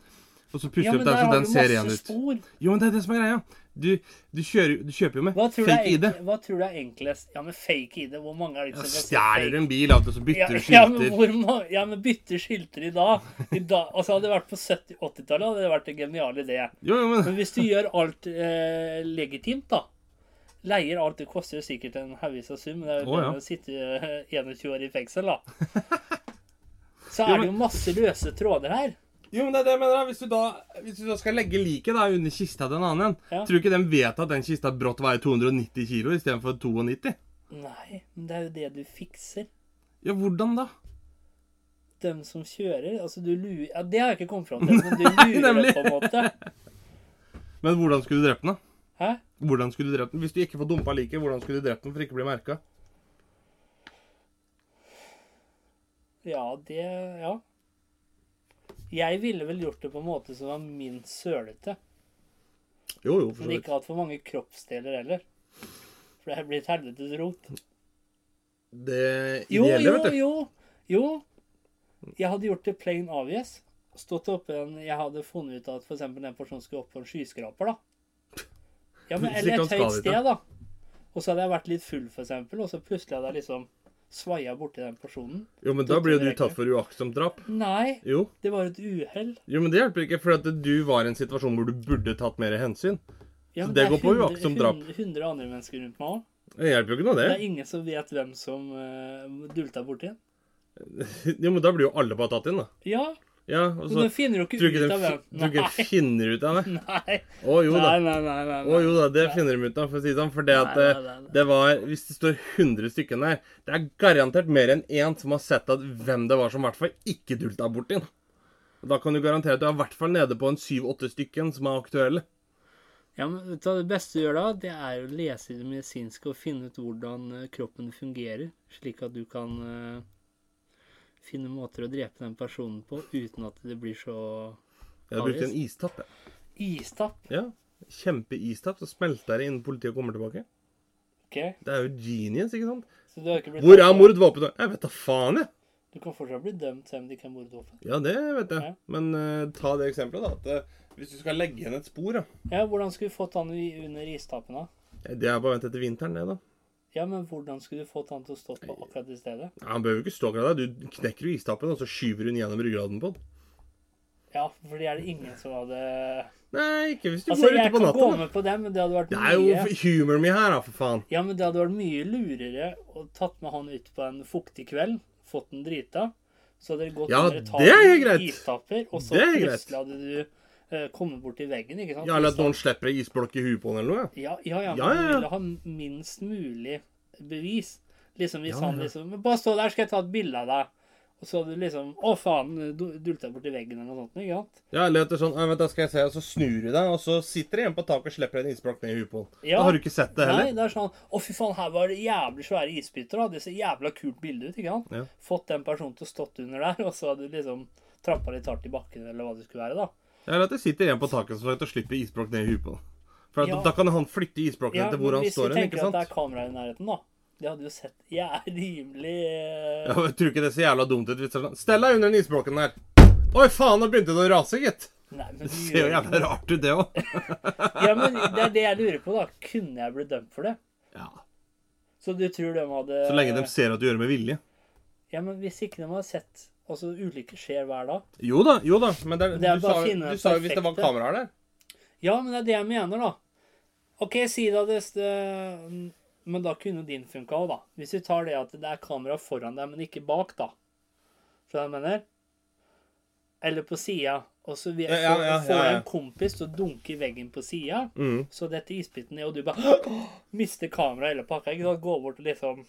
[SPEAKER 2] og så pusser
[SPEAKER 1] Ja,
[SPEAKER 2] du
[SPEAKER 1] men
[SPEAKER 2] opp
[SPEAKER 1] der
[SPEAKER 2] den så
[SPEAKER 1] har
[SPEAKER 2] den
[SPEAKER 1] du
[SPEAKER 2] ser igjen
[SPEAKER 1] masse
[SPEAKER 2] ut.
[SPEAKER 1] spor.
[SPEAKER 2] Jo, men det er det som er greia. Du, du, kjører, du kjøper jo med
[SPEAKER 1] Hva tror, du er
[SPEAKER 2] fake ID.
[SPEAKER 1] enk- hva tror du er enklest? Ja, men fake ID, hvor mange er det
[SPEAKER 2] Ja,
[SPEAKER 1] ikke som har
[SPEAKER 2] Stjeler
[SPEAKER 1] sett fake?
[SPEAKER 2] du en bil, og så
[SPEAKER 1] Ja,
[SPEAKER 2] bytter du
[SPEAKER 1] ja, men
[SPEAKER 2] skilter.
[SPEAKER 1] hvor mange, ja, men bytte skilter i dag. I dag altså hadde det vært på 70-80-tallet, hadde det vært en genial idé.
[SPEAKER 2] Jo, jo, men
[SPEAKER 1] Men hvis du gjør alt eh, legitimt, da Leier alt, det koster jo sikkert en haugvis av sum. men Det er jo
[SPEAKER 2] Å,
[SPEAKER 1] bedre
[SPEAKER 2] ja.
[SPEAKER 1] å sitte eh, 21 år i fengsel, da.
[SPEAKER 2] [LAUGHS]
[SPEAKER 1] Så
[SPEAKER 2] Ja,
[SPEAKER 1] er det
[SPEAKER 2] men-
[SPEAKER 1] jo masse løse tråder her.
[SPEAKER 2] Jo, men det er det jeg mener. da. Hvis du da, hvis du da skal legge liket da under kista til en annen en,
[SPEAKER 1] Ja.
[SPEAKER 2] tror du ikke de vet at den kista brått veier 290 kilo istedenfor 92?
[SPEAKER 1] Nei, men det er jo det du fikser.
[SPEAKER 2] Ja, hvordan da?
[SPEAKER 1] Dem som kjører Altså, du lurer Ja, det har jeg ikke kommet fram til,
[SPEAKER 2] [LAUGHS]
[SPEAKER 1] men du lurer det
[SPEAKER 2] nemlig.
[SPEAKER 1] på en måte.
[SPEAKER 2] Men hvordan skulle du drept den, da?
[SPEAKER 1] Hæ?
[SPEAKER 2] Hvordan skulle du drept den? Hvis du ikke får dumpa liket, hvordan skulle du drept den for ikke å bli merka?
[SPEAKER 1] Ja, det Ja. Jeg ville vel gjort det på en måte som var minst sølete.
[SPEAKER 2] Jo, jo, for så
[SPEAKER 1] Men
[SPEAKER 2] vidt.
[SPEAKER 1] ikke hatt for mange kroppsdeler heller. For det her blir et helvetes rot.
[SPEAKER 2] Det
[SPEAKER 1] Jo,
[SPEAKER 2] ideelle,
[SPEAKER 1] jo,
[SPEAKER 2] vet du.
[SPEAKER 1] jo. Jo. Jeg hadde gjort det plain obvious. Stått oppe en Jeg hadde funnet ut at f.eks. den personen skulle opp på en skyskraper, da. Ja,
[SPEAKER 2] [LAUGHS]
[SPEAKER 1] men
[SPEAKER 2] Slik
[SPEAKER 1] Eller
[SPEAKER 2] han
[SPEAKER 1] et
[SPEAKER 2] skal
[SPEAKER 1] høyt
[SPEAKER 2] dit,
[SPEAKER 1] sted, da. Og så hadde jeg vært litt full, f.eks., og så plutselig hadde jeg liksom svaia borti den personen.
[SPEAKER 2] Jo, men da blir jo du tatt for uaktsomt drap.
[SPEAKER 1] Nei,
[SPEAKER 2] Jo.
[SPEAKER 1] det var et uhell.
[SPEAKER 2] jo, men det hjelper ikke, for at du var i en situasjon hvor du burde tatt mer hensyn.
[SPEAKER 1] Ja,
[SPEAKER 2] Så
[SPEAKER 1] men
[SPEAKER 2] det
[SPEAKER 1] er
[SPEAKER 2] går på uaktsomt drap.
[SPEAKER 1] 100, 100 andre mennesker rundt meg òg.
[SPEAKER 2] Det hjelper jo ikke noe,
[SPEAKER 1] Det er
[SPEAKER 2] det.
[SPEAKER 1] ingen som vet hvem som eh, dulta borti den.
[SPEAKER 2] Jo, men da blir jo alle bare tatt inn, da.
[SPEAKER 1] Ja,
[SPEAKER 2] Ja, og
[SPEAKER 1] men
[SPEAKER 2] så
[SPEAKER 1] du finner jo ikke
[SPEAKER 2] tror du ikke
[SPEAKER 1] ut
[SPEAKER 2] de
[SPEAKER 1] av hvem.
[SPEAKER 2] fi- tror du ikke de finner ut av det.
[SPEAKER 1] Nei. [LAUGHS]
[SPEAKER 2] Å jo da.
[SPEAKER 1] Nei, nei, nei, nei,
[SPEAKER 2] Å
[SPEAKER 1] nei.
[SPEAKER 2] jo da, det finner de ut av, for å si det sånn. For det at
[SPEAKER 1] Nei,
[SPEAKER 2] eh,
[SPEAKER 1] nei, nei, nei.
[SPEAKER 2] det var Hvis det står 100 stykker der, det er garantert mer enn én som har sett at hvem det var som i hvert fall ikke dulta borti den. Da kan du garantere at du er i hvert fall nede på en syv-åtte stykken som er aktuelle.
[SPEAKER 1] Ja, men vet du hva det beste du gjør da, det er å lese i det medisinske og finne ut hvordan eh, kroppen fungerer, slik at du kan eh, finne måter å drepe den personen på uten at det blir så
[SPEAKER 2] Jeg brukte en istapp, jeg.
[SPEAKER 1] istapp.
[SPEAKER 2] Ja. Kjempeistapp, så smelter det innen politiet kommer tilbake.
[SPEAKER 1] Ok,
[SPEAKER 2] Det er jo genius, ikke sant?
[SPEAKER 1] så du har ikke blitt
[SPEAKER 2] Hvor er
[SPEAKER 1] dømt.
[SPEAKER 2] mordvåpenet? Jeg vet da faen, jeg.
[SPEAKER 1] Du kan fortsatt bli dømt selv om det ikke er mordvåpen.
[SPEAKER 2] Ja, det vet jeg.
[SPEAKER 1] Ja.
[SPEAKER 2] Men eh, ta det eksempelet, da. At eh, hvis du skal legge igjen et spor, da
[SPEAKER 1] Ja, hvordan skulle du fått han i- under istappen da?
[SPEAKER 2] Det er bare å vente til vinteren, det, da.
[SPEAKER 1] Ja, men hvordan skulle du fått han til å stå på akkurat det stedet?
[SPEAKER 2] Ja, han behøver jo ikke stå akkurat der. Du knekker jo istappen, og så skyver hun gjennom ryggraden på den.
[SPEAKER 1] Ja, for det er det ingen som hadde
[SPEAKER 2] Nei, ikke hvis du
[SPEAKER 1] Altså,
[SPEAKER 2] går
[SPEAKER 1] jeg
[SPEAKER 2] ute på
[SPEAKER 1] kan gå
[SPEAKER 2] natten. da.
[SPEAKER 1] med på det, men det hadde vært
[SPEAKER 2] Det er jo
[SPEAKER 1] mye
[SPEAKER 2] f- humor me her, da, for faen.
[SPEAKER 1] Ja, men det hadde vært mye lurere å tatt med han ut på en fuktig kveld, fått den drita, så hadde det gått
[SPEAKER 2] Ja,
[SPEAKER 1] under et tak
[SPEAKER 2] det er
[SPEAKER 1] med
[SPEAKER 2] greit.
[SPEAKER 1] istapper, og så
[SPEAKER 2] Det er greit.
[SPEAKER 1] plutselig hadde du eh, kommet borti veggen, ikke sant?
[SPEAKER 2] Ja, eller at noen slipper ei isblokk i huet på den eller noe. ja.
[SPEAKER 1] Ja, ja, ja, men
[SPEAKER 2] Ja, ja, ja.
[SPEAKER 1] du ville ha minst mulig bevis. Liksom hvis
[SPEAKER 2] Ja,
[SPEAKER 1] han
[SPEAKER 2] ja.
[SPEAKER 1] liksom "Men Bare stå der, skal jeg ta et bilde av deg. Og så hadde du liksom Å, faen, du dulta borti veggen eller noe sånt, ikke sant?
[SPEAKER 2] Ja, eller at det er sånn, ja, vent, da skal jeg se, og så snur du deg, og så sitter det en på taket og slipper en isblokk ned i huet på den.
[SPEAKER 1] Ja.
[SPEAKER 2] Da har du ikke sett det
[SPEAKER 1] Nei,
[SPEAKER 2] heller.
[SPEAKER 1] det er sånn Å, fy faen, her var det jævlig svære isbiter, da. Det ser jævla kult bilde ut, ikke sant?
[SPEAKER 2] Ja.
[SPEAKER 1] Fått den personen til å stått under der, og så hadde du liksom trampa litt hardt i bakken, eller hva det skulle være, da.
[SPEAKER 2] Ja, Eller at det sitter en på taket som sagt, og slipper isblokk ned i huet på den. For at,
[SPEAKER 1] Ja.
[SPEAKER 2] da kan han flytte isblokken
[SPEAKER 1] Ja,
[SPEAKER 2] til
[SPEAKER 1] men
[SPEAKER 2] hvor han
[SPEAKER 1] hvis vi
[SPEAKER 2] står hen, ikke
[SPEAKER 1] tenker at
[SPEAKER 2] sant?
[SPEAKER 1] det er kamera i nærheten, da. Det hadde jo sett jævlig rimelig eh,
[SPEAKER 2] [LAUGHS] Ja, men jeg tror ikke det ser jævla dumt ut hvis det er sånn Stell deg under den isblokken der. Oi, faen, nå begynte den å rase, gitt.
[SPEAKER 1] Nei, men
[SPEAKER 2] Det
[SPEAKER 1] du gjør
[SPEAKER 2] ser jo
[SPEAKER 1] jo
[SPEAKER 2] jævla rart ut, det òg.
[SPEAKER 1] Ja, men det er det jeg lurer på, da. Kunne jeg blitt dømt for det?
[SPEAKER 2] [LAUGHS] Ja.
[SPEAKER 1] Så du tror de hadde
[SPEAKER 2] Så lenge de ser at du gjør det med vilje.
[SPEAKER 1] Ja, men hvis ikke de har sett Altså, ulykker skjer hver dag.
[SPEAKER 2] Jo da, jo da, men det, er-
[SPEAKER 1] Det er bare
[SPEAKER 2] du, sa,
[SPEAKER 1] å finne
[SPEAKER 2] du sa jo hvis det var
[SPEAKER 1] perfekte.
[SPEAKER 2] kameraer der.
[SPEAKER 1] Ja, men det er det jeg mener, da. OK, si det at det Men da kunne din funka òg, da. Hvis vi tar det at det er kamera foran deg, men ikke bak, da. Skjønner du hva jeg mener? Eller på sida. Og så vi-
[SPEAKER 2] Ja, ja, ja,
[SPEAKER 1] får
[SPEAKER 2] ja,
[SPEAKER 1] du
[SPEAKER 2] ja.
[SPEAKER 1] en kompis til å dunke i veggen på sida,
[SPEAKER 2] Mm.
[SPEAKER 1] så detter isbiten ned, og du bare [GASPS] mister kameraet eller pakka. Ikke sant? Gå bort og liksom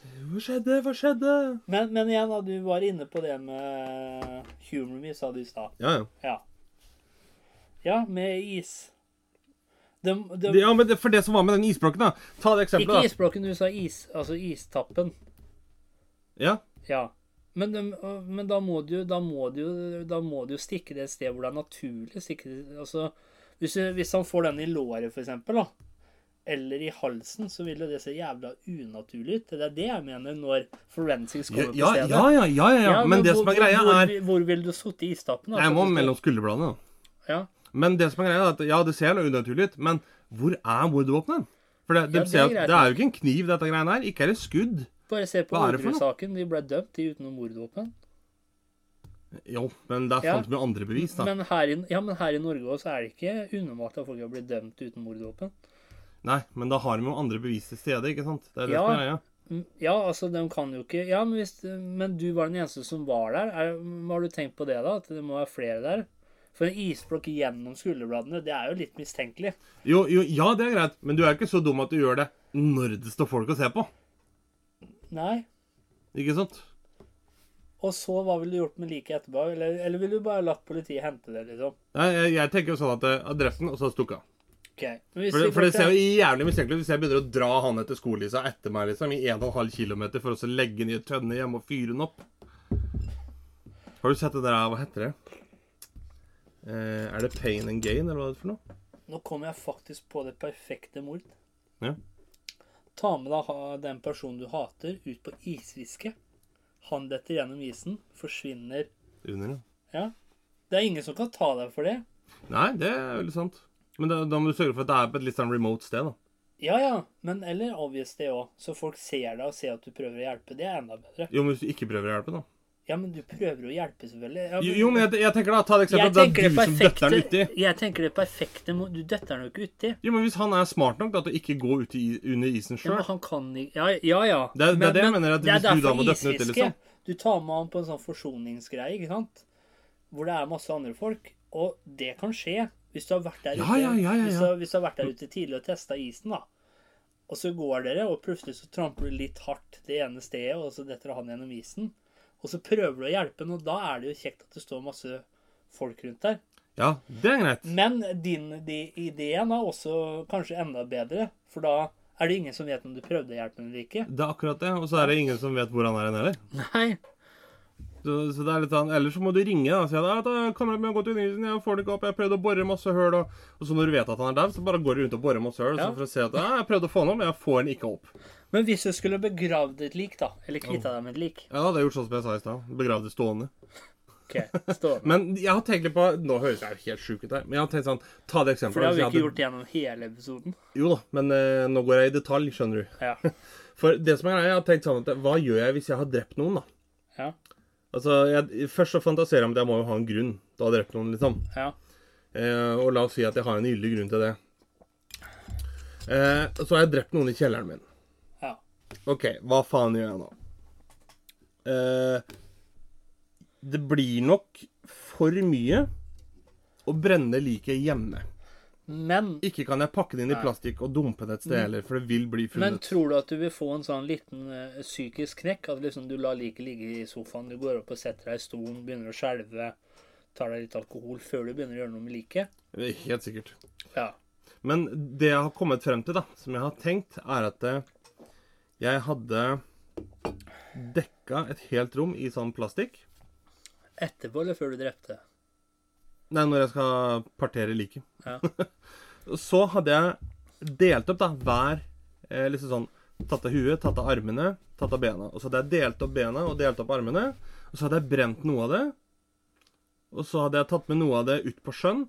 [SPEAKER 2] Hva skjedde, hva skjedde?
[SPEAKER 1] Men, men igjen, da, du var inne på det med humor me, sa du i stad.
[SPEAKER 2] Ja, ja.
[SPEAKER 1] Ja. ja, med is. De, de,
[SPEAKER 2] Det- ja men det, for det som var med den isblokken, da. Ta det
[SPEAKER 1] ikke
[SPEAKER 2] eksempelet, da.
[SPEAKER 1] isblokken, du sa is. Altså istappen.
[SPEAKER 2] Ja.
[SPEAKER 1] Ja. Men, dem- og- men da må du jo da må du, jo- da må du jo stikke det et sted hvor det er naturlig. Stikke, det- altså, hvis, du- hvis han får den i låret, for eksempel, da, eller i halsen, så vil jo det se jævla unaturlig ut. Det er det jeg mener når forensics
[SPEAKER 2] Ja,
[SPEAKER 1] kommer
[SPEAKER 2] ja,
[SPEAKER 1] på
[SPEAKER 2] ja,
[SPEAKER 1] stedet.
[SPEAKER 2] ja, ja, ja,
[SPEAKER 1] Ja,
[SPEAKER 2] men det som er greia,
[SPEAKER 1] hvor,
[SPEAKER 2] er
[SPEAKER 1] Hvor, hvor vil du sitte i istappen? da?
[SPEAKER 2] Jeg må
[SPEAKER 1] Faktisk,
[SPEAKER 2] mellom skulderbladene. da.
[SPEAKER 1] Ja.
[SPEAKER 2] Men det som er greia, er at ja, det ser noe unaturlig ut, men hvor er mordvåpenet? For det, de
[SPEAKER 1] Ja, det er
[SPEAKER 2] ser at,
[SPEAKER 1] greit.
[SPEAKER 2] det er jo ikke en kniv, dette greiene her. Ikke er det skudd.
[SPEAKER 1] Bare se på
[SPEAKER 2] Hva er det for noe?
[SPEAKER 1] Orderud-saken. De ble dømt i uten noe mordvåpen.
[SPEAKER 2] Jo, men der
[SPEAKER 1] Ja.
[SPEAKER 2] fant vi jo andre bevis, da.
[SPEAKER 1] Men her, i, ja, men her i Norge også er det ikke unormalt at folk har blitt dømt uten mordvåpen.
[SPEAKER 2] Nei, men da har vi jo andre bevis til stede, ikke sant? Det er det
[SPEAKER 1] Ja.
[SPEAKER 2] som er greia.
[SPEAKER 1] Mm, Ja, altså, de kan jo ikke Ja, men, hvis, men du var den eneste som var der. Er, har du tenkt på det, da? At det må være flere der? For en isblokk gjennom skulderbladene, det er jo litt mistenkelig.
[SPEAKER 2] Jo, jo, ja, det er greit, men du er ikke så dum at du gjør det når det står folk å se på.
[SPEAKER 1] Nei.
[SPEAKER 2] Ikke sant?
[SPEAKER 1] Og så, hva ville du gjort med liket etterpå? Eller, eller ville du bare latt politiet hente det, liksom?
[SPEAKER 2] Nei, jeg, jeg tenker jo sånn at eh, adressen, og så stukk av.
[SPEAKER 1] OK. Men hvis
[SPEAKER 2] For, det-
[SPEAKER 1] vi
[SPEAKER 2] for
[SPEAKER 1] går til-
[SPEAKER 2] det ser jo jævlig mistenkelig ut hvis jeg begynner å dra han etter skolissa etter meg liksom, i 1,5 km for å så legge den i en tønne hjemme og fyre den opp. Har du sett det der Hva heter det? Eh, er det pain and gain, eller hva er det for noe?
[SPEAKER 1] Nå kom jeg faktisk på det perfekte mord.
[SPEAKER 2] Ja.
[SPEAKER 1] Ta med deg ha- den personen du hater, ut på isfiske. Han detter gjennom isen, forsvinner.
[SPEAKER 2] Under, ja.
[SPEAKER 1] Ja. Det er ingen som kan ta deg for det.
[SPEAKER 2] Nei, det er veldig sant. Men da, da må du sørge for at det er på et litt sånn remote sted, da.
[SPEAKER 1] Ja, ja, men eller obvious det òg, så folk ser deg og ser at du prøver å hjelpe. Det er enda bedre.
[SPEAKER 2] Jo, men hvis du ikke prøver å hjelpe, da.
[SPEAKER 1] Ja, men du prøver å hjelpe, selvfølgelig. Ja,
[SPEAKER 2] Jo, jo men jeg, jeg tenker da, ta det
[SPEAKER 1] jeg
[SPEAKER 2] eksempelet. Det
[SPEAKER 1] tenker det
[SPEAKER 2] er du som døtter den
[SPEAKER 1] perfekte
[SPEAKER 2] uti.
[SPEAKER 1] Jeg tenker det perfekte mord Du døtter den jo ikke uti.
[SPEAKER 2] Jo, men hvis han er smart nok da, til å ikke gå ut i, under isen
[SPEAKER 1] Ja, men
[SPEAKER 2] sjøl
[SPEAKER 1] han kan ikke Ja, ja. ja.
[SPEAKER 2] Det er- det er det jeg mener, at
[SPEAKER 1] er
[SPEAKER 2] hvis du da
[SPEAKER 1] derfor
[SPEAKER 2] må døtte den ut,
[SPEAKER 1] isfiske,
[SPEAKER 2] liksom.
[SPEAKER 1] Du tar med han på en sånn forsoningsgreie, ikke sant? Hvor det er masse andre folk. Og det kan skje hvis du har vært der
[SPEAKER 2] Ja,
[SPEAKER 1] ute,
[SPEAKER 2] ja, ja, ja,
[SPEAKER 1] Hvis, du,
[SPEAKER 2] ja.
[SPEAKER 1] har- hvis du har vært der ute tidlig og testa isen, da. Og så går dere, og plutselig så tramper du litt hardt det ene stedet, og så detter han gjennom isen. Og så prøver du å hjelpe han, og da er det jo kjekt at det står masse folk rundt der.
[SPEAKER 2] Ja, det er greit.
[SPEAKER 1] Men din de, ideen er også kanskje enda bedre, for da er det ingen som vet om du prøvde å hjelpe henne eller ikke.
[SPEAKER 2] Det er akkurat det. Og så er det ingen som vet hvor han er hen heller.
[SPEAKER 1] Nei.
[SPEAKER 2] Så, så det er litt sånn, Ellers så må du ringe da, og si at «Ja, da, 'Kameraten min har gått under isen, jeg får det ikke opp, jeg prøvde å bore masse høl', og, og så når du vet at han er der, så bare går du rundt og borer masse høl
[SPEAKER 1] Ja.
[SPEAKER 2] så for å se at ja, 'Jeg prøvde å få han opp, men jeg får han ikke opp'.
[SPEAKER 1] Men hvis du skulle begravd et lik, da, eller kvitta deg med et lik
[SPEAKER 2] Ja, da hadde jeg gjort sånn som jeg sa i stad. Begravd det stående.
[SPEAKER 1] Ok,
[SPEAKER 2] [LAUGHS]
[SPEAKER 1] stå med.
[SPEAKER 2] Men jeg har tenkt litt på Nå høres jeg jo helt sjuk ut her, men jeg har tenkt sånn Ta det eksempelet.
[SPEAKER 1] For det har vi
[SPEAKER 2] hvis jeg
[SPEAKER 1] ikke
[SPEAKER 2] hadde-
[SPEAKER 1] gjort gjennom hele episoden.
[SPEAKER 2] Jo da, men eh, nå går jeg i detalj, skjønner du.
[SPEAKER 1] Ja.
[SPEAKER 2] For det som er greia, jeg har tenkt sånn at Hva gjør jeg hvis jeg har drept noen, da?
[SPEAKER 1] Ja.
[SPEAKER 2] Altså, jeg, Først så fantaserer jeg om at jeg må jo ha en grunn til å ha drept noen. liksom.
[SPEAKER 1] ja.
[SPEAKER 2] Eh, og la oss si at jeg har en gyldig grunn til det. Eh, så har jeg drept noen i kjelleren min.
[SPEAKER 1] ja.
[SPEAKER 2] OK, hva faen gjør jeg nå? Eh, det blir nok for mye å brenne liket hjemme.
[SPEAKER 1] Men,
[SPEAKER 2] Ikke kan jeg pakke det inn i plastikk og dumpe det et sted heller, for det vil bli
[SPEAKER 1] men
[SPEAKER 2] funnet.
[SPEAKER 1] tror du at du vil få en sånn liten eh, psykisk knekk? At liksom du lar liket ligge i sofaen, du går opp og setter deg i stolen, begynner å skjelve, tar deg litt alkohol før du begynner å gjøre noe med liket?
[SPEAKER 2] Helt sikkert.
[SPEAKER 1] Ja.
[SPEAKER 2] Men det jeg har kommet frem til, da, som jeg har tenkt, er at eh, jeg hadde dekka et helt rom i sånn plastikk.
[SPEAKER 1] Etterpå eller før du drepte?
[SPEAKER 2] Nei, når jeg skal partere liket.
[SPEAKER 1] Ja.
[SPEAKER 2] [LAUGHS] Så hadde jeg delt opp da hver eh, liksom sånn Tatt av huet, tatt av armene, tatt av bena. Og så hadde jeg delt opp bena og delt opp armene. Og så hadde jeg brent noe av det. Og så hadde jeg tatt med noe av det ut på sjøen.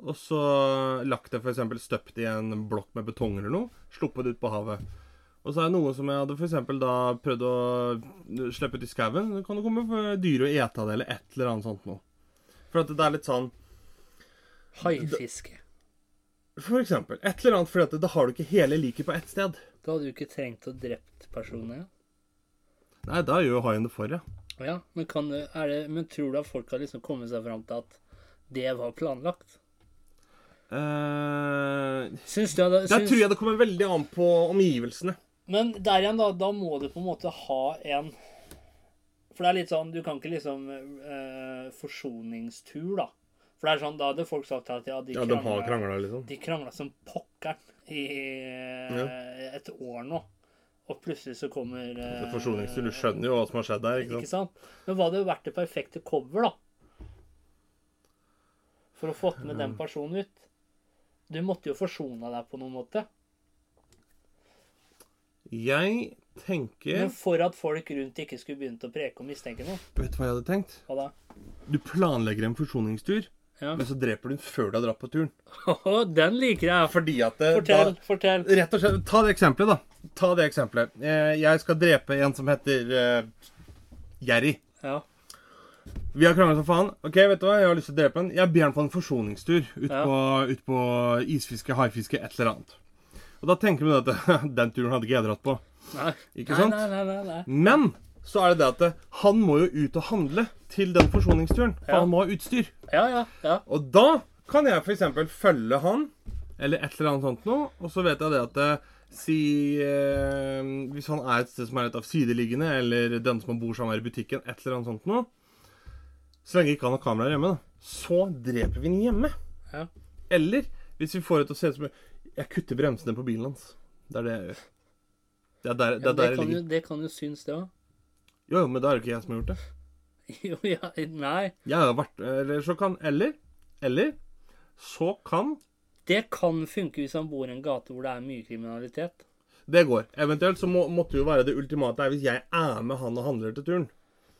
[SPEAKER 2] Og så lagt det f.eks. støpt i en blokk med betong eller noe. Sluppet det ut på havet. Og så er det noe som jeg hadde for eksempel da prøvd å slippe ut i skauen. Det kan jo komme dyr og ete av det, eller et eller annet sånt noe. For at det er litt sånn
[SPEAKER 1] Haifiske.
[SPEAKER 2] For eksempel. Et eller annet fordi at da har du ikke hele liket på ett sted.
[SPEAKER 1] Da hadde du ikke trengt å drept personen. Ja.
[SPEAKER 2] Nei, da gjør jo haien det for deg.
[SPEAKER 1] Ja, men, kan, du- er det, men tror du at folk har liksom kommet seg fram til at det var planlagt?
[SPEAKER 2] Eh,
[SPEAKER 1] Syns du hadde,
[SPEAKER 2] der
[SPEAKER 1] syns,
[SPEAKER 2] tror jeg det kommer veldig an på omgivelsene.
[SPEAKER 1] Men der igjen, da, da må du på en måte ha en For det er litt sånn, du kan ikke liksom eh, Forsoningstur, da. For det er sånn, da hadde folk sagt at ja, de
[SPEAKER 2] Ja, de har sånn.
[SPEAKER 1] kranglet-
[SPEAKER 2] krangla, liksom.
[SPEAKER 1] De krangla som pokkeren i eh, et år nå. og plutselig så kommer eh,
[SPEAKER 2] Forsoningstur. Du skjønner jo hva som har skjedd der. ikke
[SPEAKER 1] Ikke
[SPEAKER 2] sant?
[SPEAKER 1] sant? Men hva hadde jo vært det perfekte cover, da? For å fått med den personen ut. Du måtte jo forsona deg på noen måte.
[SPEAKER 2] Jeg tenker
[SPEAKER 1] Men for at folk rundt ikke skulle begynt å preke og mistenke noe.
[SPEAKER 2] Vet du hva jeg hadde tenkt?
[SPEAKER 1] Hva da?
[SPEAKER 2] Du planlegger en forsoningstur,
[SPEAKER 1] Ja.
[SPEAKER 2] men så dreper du den før du har dratt på turen.
[SPEAKER 1] den liker jeg.
[SPEAKER 2] Fordi at det,
[SPEAKER 1] Fortell,
[SPEAKER 2] Da,
[SPEAKER 1] fortell.
[SPEAKER 2] Rett og slett, Ta det eksempelet, da. Ta det eksempelet. Eh, Jeg skal drepe en som heter eh, Jerry.
[SPEAKER 1] Ja.
[SPEAKER 2] Vi har kranglet som faen. Ok, vet du hva? Jeg har lyst til å drepe han. Jeg ber han på en forsoningstur ut,
[SPEAKER 1] Ja.
[SPEAKER 2] på, ut på isfiske, haifiske, et eller annet. Og da tenker vi at [LAUGHS] den turen hadde ikke jeg dratt på.
[SPEAKER 1] Nei.
[SPEAKER 2] Ikke sant?
[SPEAKER 1] Nei, nei, nei, nei.
[SPEAKER 2] Men så er det det at eh, han må jo ut og handle til den forsoningsturen. For
[SPEAKER 1] Ja.
[SPEAKER 2] han må ha utstyr.
[SPEAKER 1] Ja, ja, ja.
[SPEAKER 2] Og da kan jeg f.eks. følge han, eller et eller annet sånt noe, og så vet jeg det at eh, Si eh, Hvis han er et sted som er litt avsideliggende, eller den som han bor sammen med i butikken, et eller annet sånt noe Så lenge ikke han har kamera hjemme, da. Så dreper vi ham hjemme.
[SPEAKER 1] Ja.
[SPEAKER 2] Eller hvis vi får det til å se ut som Jeg kutter bremsene på bilen hans. Det er det jeg gjør. Det er der det,
[SPEAKER 1] Det,
[SPEAKER 2] er der jeg
[SPEAKER 1] kan jo,
[SPEAKER 2] ligger.
[SPEAKER 1] det kan jo synes, det òg.
[SPEAKER 2] Jo, jo, men da er det ikke jeg som har gjort det.
[SPEAKER 1] [LAUGHS] Jo, ja, nei.
[SPEAKER 2] Jeg har vært Eller så kan Eller Eller så kan
[SPEAKER 1] Det kan funke hvis han bor i en gate hvor det er mye kriminalitet.
[SPEAKER 2] Det går. Eventuelt så må, måtte jo være det ultimate er hvis jeg er med han og handler til turen.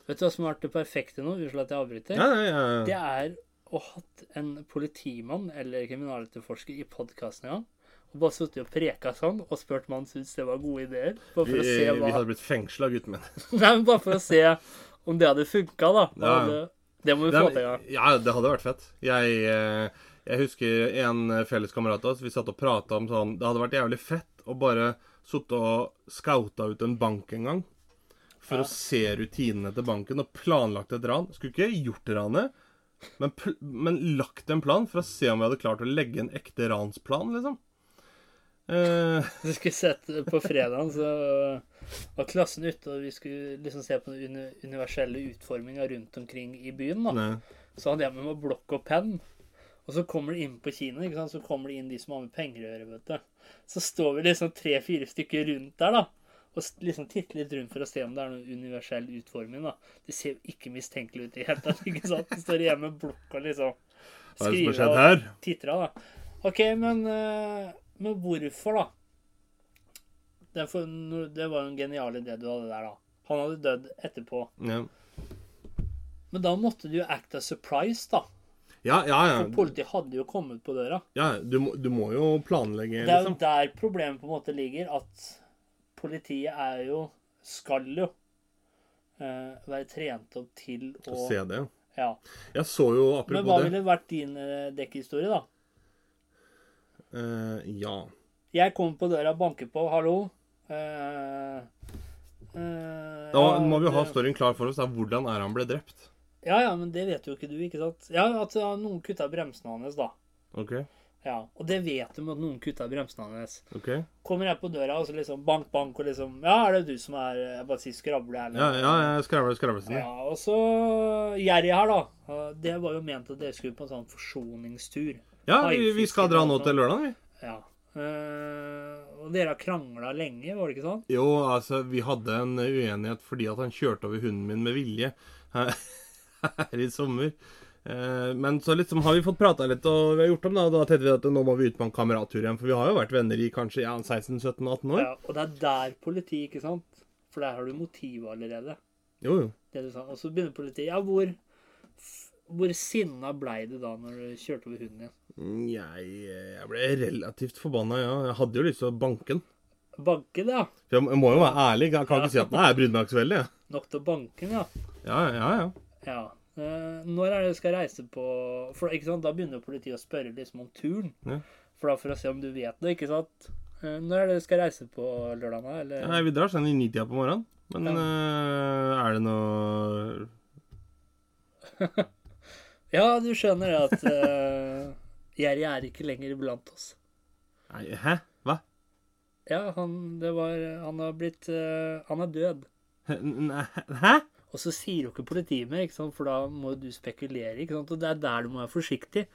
[SPEAKER 1] Vet du hva som har vært det perfekte nå? Unnskyld at jeg avbryter.
[SPEAKER 2] Ja, ja, ja,
[SPEAKER 1] Det
[SPEAKER 2] ja.
[SPEAKER 1] er å ha hatt en politimann eller kriminaletterforsker i podkasten ja. og bare sittet og preka sånn og spurt om han syntes det var gode ideer. Bare
[SPEAKER 2] Vi,
[SPEAKER 1] for å se
[SPEAKER 2] vi
[SPEAKER 1] hva
[SPEAKER 2] hadde blitt fengsla, gutten min.
[SPEAKER 1] [LAUGHS] Nei, men bare for å se om det hadde funka, da. Og
[SPEAKER 2] Ja.
[SPEAKER 1] Det, det må vi
[SPEAKER 2] Det,
[SPEAKER 1] få til en gang.
[SPEAKER 2] ja, det hadde vært fett. Jeg, eh, jeg husker en felles kamerat av oss. Vi satt og prata om sånn Det hadde vært jævlig fett å bare sitte og scouta ut en bank en gang. For å se rutinene til banken og planlagt et ran. Skulle ikke gjort ranet, men, pl men lagt en plan for å se om vi hadde klart å legge en ekte ransplan, liksom. Eh,
[SPEAKER 1] Du skulle sett på fredagen, så var klassen ute, og vi skulle liksom se på den uni- universelle utforminga rundt omkring i byen. da.
[SPEAKER 2] nei.
[SPEAKER 1] Så hadde jeg med meg blokk og penn. Og så kommer det inn på kino, ikke sant? så kommer det inn de som har med penger å gjøre. vet du. Så står vi liksom tre-fire stykker rundt der, da. Og s- liksom titter litt rundt for å se om det er noen universell utforming. da. Det ser jo ikke mistenkelig ut i det hele tatt. [LAUGHS] ikke sant? Så står jeg med blokk og liksom
[SPEAKER 2] Hva er det som har
[SPEAKER 1] skriver
[SPEAKER 2] skjedd
[SPEAKER 1] og
[SPEAKER 2] her?
[SPEAKER 1] titter av, da. OK, men, eh, men hvorfor, da? Det, for, det var jo en genial idé du hadde der, da. Han hadde dødd etterpå.
[SPEAKER 2] Ja,
[SPEAKER 1] Men da måtte du jo act as surprise, da.
[SPEAKER 2] ja, ja.
[SPEAKER 1] For
[SPEAKER 2] ja.
[SPEAKER 1] politiet hadde jo kommet på døra.
[SPEAKER 2] ja du, må, du må jo planlegge,
[SPEAKER 1] Det er jo
[SPEAKER 2] liksom.
[SPEAKER 1] der problemet på en måte ligger, at politiet er jo Skal jo eh, være trent opp til å
[SPEAKER 2] Se det.
[SPEAKER 1] Ja.
[SPEAKER 2] Jeg så jo
[SPEAKER 1] Men hva
[SPEAKER 2] apropos det.
[SPEAKER 1] ville vært din eh, dekkhistorie, da?
[SPEAKER 2] Eh, ja.
[SPEAKER 1] Jeg kommer på døra, banker på, hallo. Eh, eh,
[SPEAKER 2] Da
[SPEAKER 1] ja,
[SPEAKER 2] må vi jo ha
[SPEAKER 1] det-
[SPEAKER 2] storyen klar for oss. Da. Hvordan er han ble drept?
[SPEAKER 1] Ja, ja, men det vet jo ikke du, ikke sant? Ja, at ja, noen kutta bremsene hans, da.
[SPEAKER 2] OK?
[SPEAKER 1] Ja, Og det vet de at noen kutta bremsene hans.
[SPEAKER 2] ok Ja,
[SPEAKER 1] Kommer jeg på døra, og så liksom bank, bank, og liksom Ja, er det du som er Jeg bare sier skravle her.
[SPEAKER 2] ja, ja skravle, skravle. Sine.
[SPEAKER 1] Ja, og så Jerry her, da. Det var jo ment at dere skulle på en sånn forsoningstur.
[SPEAKER 2] Ja, vi, vi skal dra nå til lørdag, vi.
[SPEAKER 1] Ja. Eh, og dere har krangla lenge, var det ikke sånn?
[SPEAKER 2] Jo, altså, vi hadde en uenighet fordi at han kjørte over hunden min med vilje her, [LAUGHS] her i sommer. Eh, Men så liksom har vi fått prata litt, og vi har gjort om det. Og da tenkte vi at nå må vi ut på en kamerattur igjen, for vi har jo vært venner i kanskje ja, 16-17-18 år.
[SPEAKER 1] Ja, og det er der politiet, ikke sant? For der har du motivet allerede.
[SPEAKER 2] Jo, jo.
[SPEAKER 1] Det du sa. Og så begynner politiet Ja, hvor f- hvor sinna blei du da når du kjørte over hunden din?
[SPEAKER 2] Mm, Jeg, jeg ble relativt forbanna, ja. Jeg hadde jo lyst til å banke den.
[SPEAKER 1] Banke, det, ja.
[SPEAKER 2] For jeg må- jeg må jo være ærlig. Jeg kan ikke si at nei, jeg brydde meg ikke så veldig. jeg.
[SPEAKER 1] Nok til å banke, ja.
[SPEAKER 2] Ja, ja, ja.
[SPEAKER 1] ja. Eh, når er det du skal reise på For ikke sant, Da begynner jo politiet å spørre liksom om turen.
[SPEAKER 2] Ja.
[SPEAKER 1] For da for å se om du vet det, ikke sant? Eh, når er det du skal reise på lørdag? da, Eller?
[SPEAKER 2] Nei, vi drar sånn i nitida på morgenen. Men
[SPEAKER 1] Ja.
[SPEAKER 2] eh, er det noe
[SPEAKER 1] Ja, du skjønner det at eh, [LAUGHS] Jerry er ikke lenger iblant oss.
[SPEAKER 2] Nei, hæ? Hva?
[SPEAKER 1] Ja, han, det var, han har blitt eh, Han er død.
[SPEAKER 2] Hæ? Nei, hæ?
[SPEAKER 1] Og så sier jo ikke politiet mer, ikke sant? for da må du spekulere. ikke sant? Og det er der du må være forsiktig.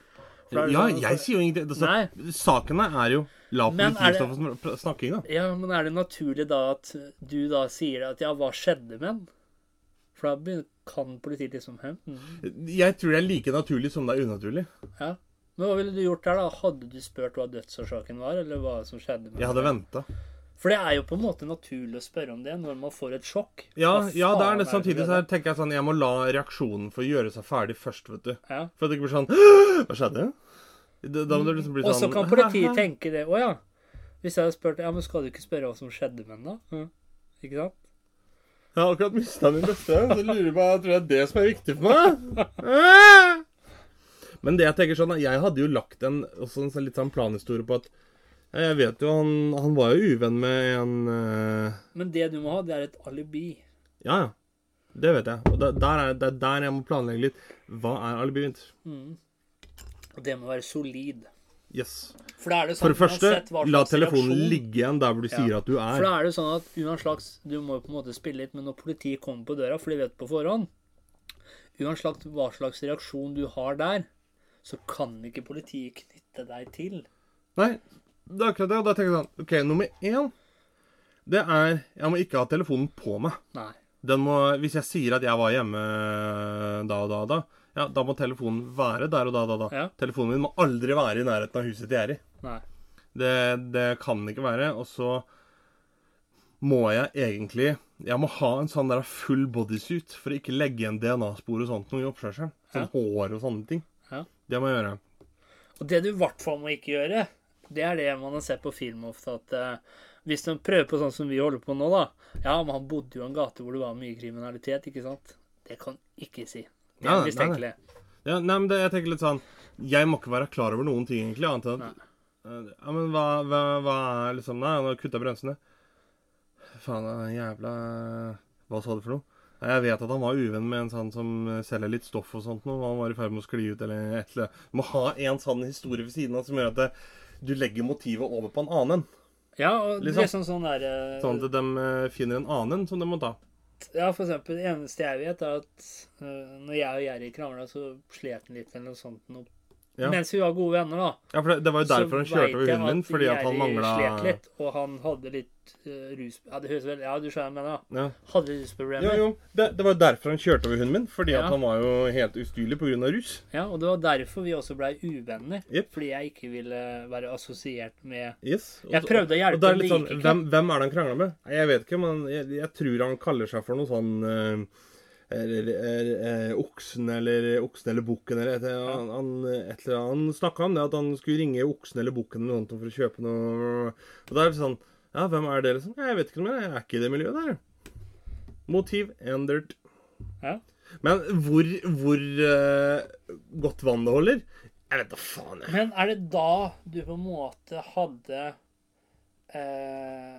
[SPEAKER 1] For da er det
[SPEAKER 2] Ja,
[SPEAKER 1] sånn-
[SPEAKER 2] jeg sier jo ingenting. Altså, sakene er jo La
[SPEAKER 1] Men er det-
[SPEAKER 2] politiet det... snakke, da.
[SPEAKER 1] Ja, men er det naturlig da at du da sier at ja, hva skjedde med den? For da begynner- kan politiet liksom «Hæ? Mm,
[SPEAKER 2] Jeg tror det er like naturlig som det er unaturlig.
[SPEAKER 1] Ja. Men hva ville du gjort der, da? Hadde du spurt hva dødsårsaken var, eller hva som skjedde med
[SPEAKER 2] Jeg hadde venta.
[SPEAKER 1] For det er jo på en måte naturlig å spørre om det når man får et sjokk.
[SPEAKER 2] Ja,
[SPEAKER 1] Hva
[SPEAKER 2] ja, det er
[SPEAKER 1] faen
[SPEAKER 2] det. Samtidig
[SPEAKER 1] du
[SPEAKER 2] så
[SPEAKER 1] gjør?
[SPEAKER 2] her tenker jeg sånn Jeg må la reaksjonen få gjøre seg ferdig først, vet du.
[SPEAKER 1] ja.
[SPEAKER 2] For at det ikke blir sånn [GASPS] Hva skjedde? Da da må det liksom bli
[SPEAKER 1] Og
[SPEAKER 2] sånn
[SPEAKER 1] så kan
[SPEAKER 2] [LAUGHS]
[SPEAKER 1] politiet tenke det. Å ja. Hvis jeg hadde spurt Ja, men skal du ikke spørre hva som skjedde med den, da? Ja. Ikke sant?
[SPEAKER 2] Jeg har akkurat mista min beste venn, så lurer jeg på tror det er det som er viktig for meg. Men det jeg tenker sånn, er, jeg hadde jo lagt en, også en sånn litt sånn planhistorie på at ja, Jeg vet jo han, han var jo uvenn med en eh,
[SPEAKER 1] Men det du må ha, det er et alibi.
[SPEAKER 2] Ja, ja. Det vet jeg. Og det, der er, det er der jeg må planlegge litt. Hva er alibi mitt?
[SPEAKER 1] Og det må være solid.
[SPEAKER 2] Yes.
[SPEAKER 1] For da er det sånn
[SPEAKER 2] For det første,
[SPEAKER 1] uansett hva
[SPEAKER 2] la
[SPEAKER 1] slags
[SPEAKER 2] telefonen
[SPEAKER 1] reaksjon-
[SPEAKER 2] ligge igjen der hvor du sier at du
[SPEAKER 1] For
[SPEAKER 2] er.
[SPEAKER 1] da er det jo sånn at uansett slags Du må jo på en måte spille litt, men når politiet kommer på døra, for de vet på forhånd Uansett slags- hva slags reaksjon du har der, så kan ikke politiet knytte deg til.
[SPEAKER 2] Nei, det er akkurat det. Og da tenker jeg sånn OK, nummer én, det er Jeg må ikke ha telefonen på meg.
[SPEAKER 1] Nei.
[SPEAKER 2] Den må, hvis jeg sier at jeg var hjemme eh, da og da og da, ja, da må telefonen være der og da og da. og da.
[SPEAKER 1] Ja.
[SPEAKER 2] Telefonen min må aldri være i nærheten av huset jeg er i.
[SPEAKER 1] Nei.
[SPEAKER 2] Det, det kan ikke være. Og så må jeg egentlig Jeg må ha en sånn der full bodysuit for å ikke legge igjen DNA-spor og sånt noe i oppkjørselen. Sånn hår og sånne ting.
[SPEAKER 1] Ja.
[SPEAKER 2] Det må jeg gjøre.
[SPEAKER 1] Og det du i hvert fall må ikke gjøre, det er det man har sett på film ofte, at eh, hvis de prøver på sånn som vi holder på nå, da Ja, men han bodde jo i en gate hvor det var mye kriminalitet, ikke sant? Det kan du ikke si. Det er
[SPEAKER 2] Nei, nei,
[SPEAKER 1] mistenkelig.
[SPEAKER 2] Ja, nei, men det, jeg tenker litt sånn Jeg må ikke være klar over noen ting, egentlig, annet enn at eh, Ja, men hva, hva, hva er liksom Nei, han har kutta bremsene. Faen, den jævla Hva sa du for noe? Nei, Jeg vet at han var uvenn med en sånn som selger litt stoff og sånt noe. Han var i ferd med å skli ut eller et eller annet. Du må ha en sånn historie ved siden av som gjør at det, du legger motivet over på en annen.
[SPEAKER 1] Ja, og
[SPEAKER 2] Liksom.
[SPEAKER 1] liksom sånn der eh,
[SPEAKER 2] Sånn at de eh, finner en annen som de må ta.
[SPEAKER 1] Ja, for eksempel, det eneste jeg vet, er at eh, når jeg og Jerry krangla, så slet han litt eller noe sånt. Noe.
[SPEAKER 2] Ja.
[SPEAKER 1] Mens vi var gode venner, da.
[SPEAKER 2] Ja, for det, det var jo derfor han kjørte over hunden min, fordi at han mangla
[SPEAKER 1] slet litt, og han hadde litt eh, rus... Ja, det høres vel Ja, du skjønner hva jeg mener,
[SPEAKER 2] Ja.
[SPEAKER 1] da. Hadde litt rusproblemer.
[SPEAKER 2] Jo, jo. Det, det var jo derfor han kjørte over hunden min. Fordi
[SPEAKER 1] Ja.
[SPEAKER 2] at han var jo helt ustyrlig pga. rus.
[SPEAKER 1] Ja, og det var derfor vi også blei uvenner.
[SPEAKER 2] Jep.
[SPEAKER 1] Fordi jeg ikke ville være assosiert med
[SPEAKER 2] Yes. Og,
[SPEAKER 1] Jeg prøvde å hjelpe,
[SPEAKER 2] og da
[SPEAKER 1] men
[SPEAKER 2] er det
[SPEAKER 1] det
[SPEAKER 2] litt sånn,
[SPEAKER 1] gikk ikke.
[SPEAKER 2] hvem, hvem er det han krangler med? Nei, Jeg vet ikke, men jeg, jeg tror han kaller seg for noe sånn eh, eller, eh, eh, Oksen eller Oksen eller Bukken eller et, han, han, et eller annet. Han snakka om det, at han skulle ringe Oksen eller Bukken eller noe sånt for å kjøpe noe. Og da er det sånn Ja, hvem er det? Liksom? «Nei, Jeg vet ikke noe mer. Jeg er ikke i det miljøet der. Motiv endert.
[SPEAKER 1] Ja.
[SPEAKER 2] Men hvor, hvor eh, godt vann det holder? Jeg vet da faen, jeg.
[SPEAKER 1] Men er det da du på en måte hadde eh,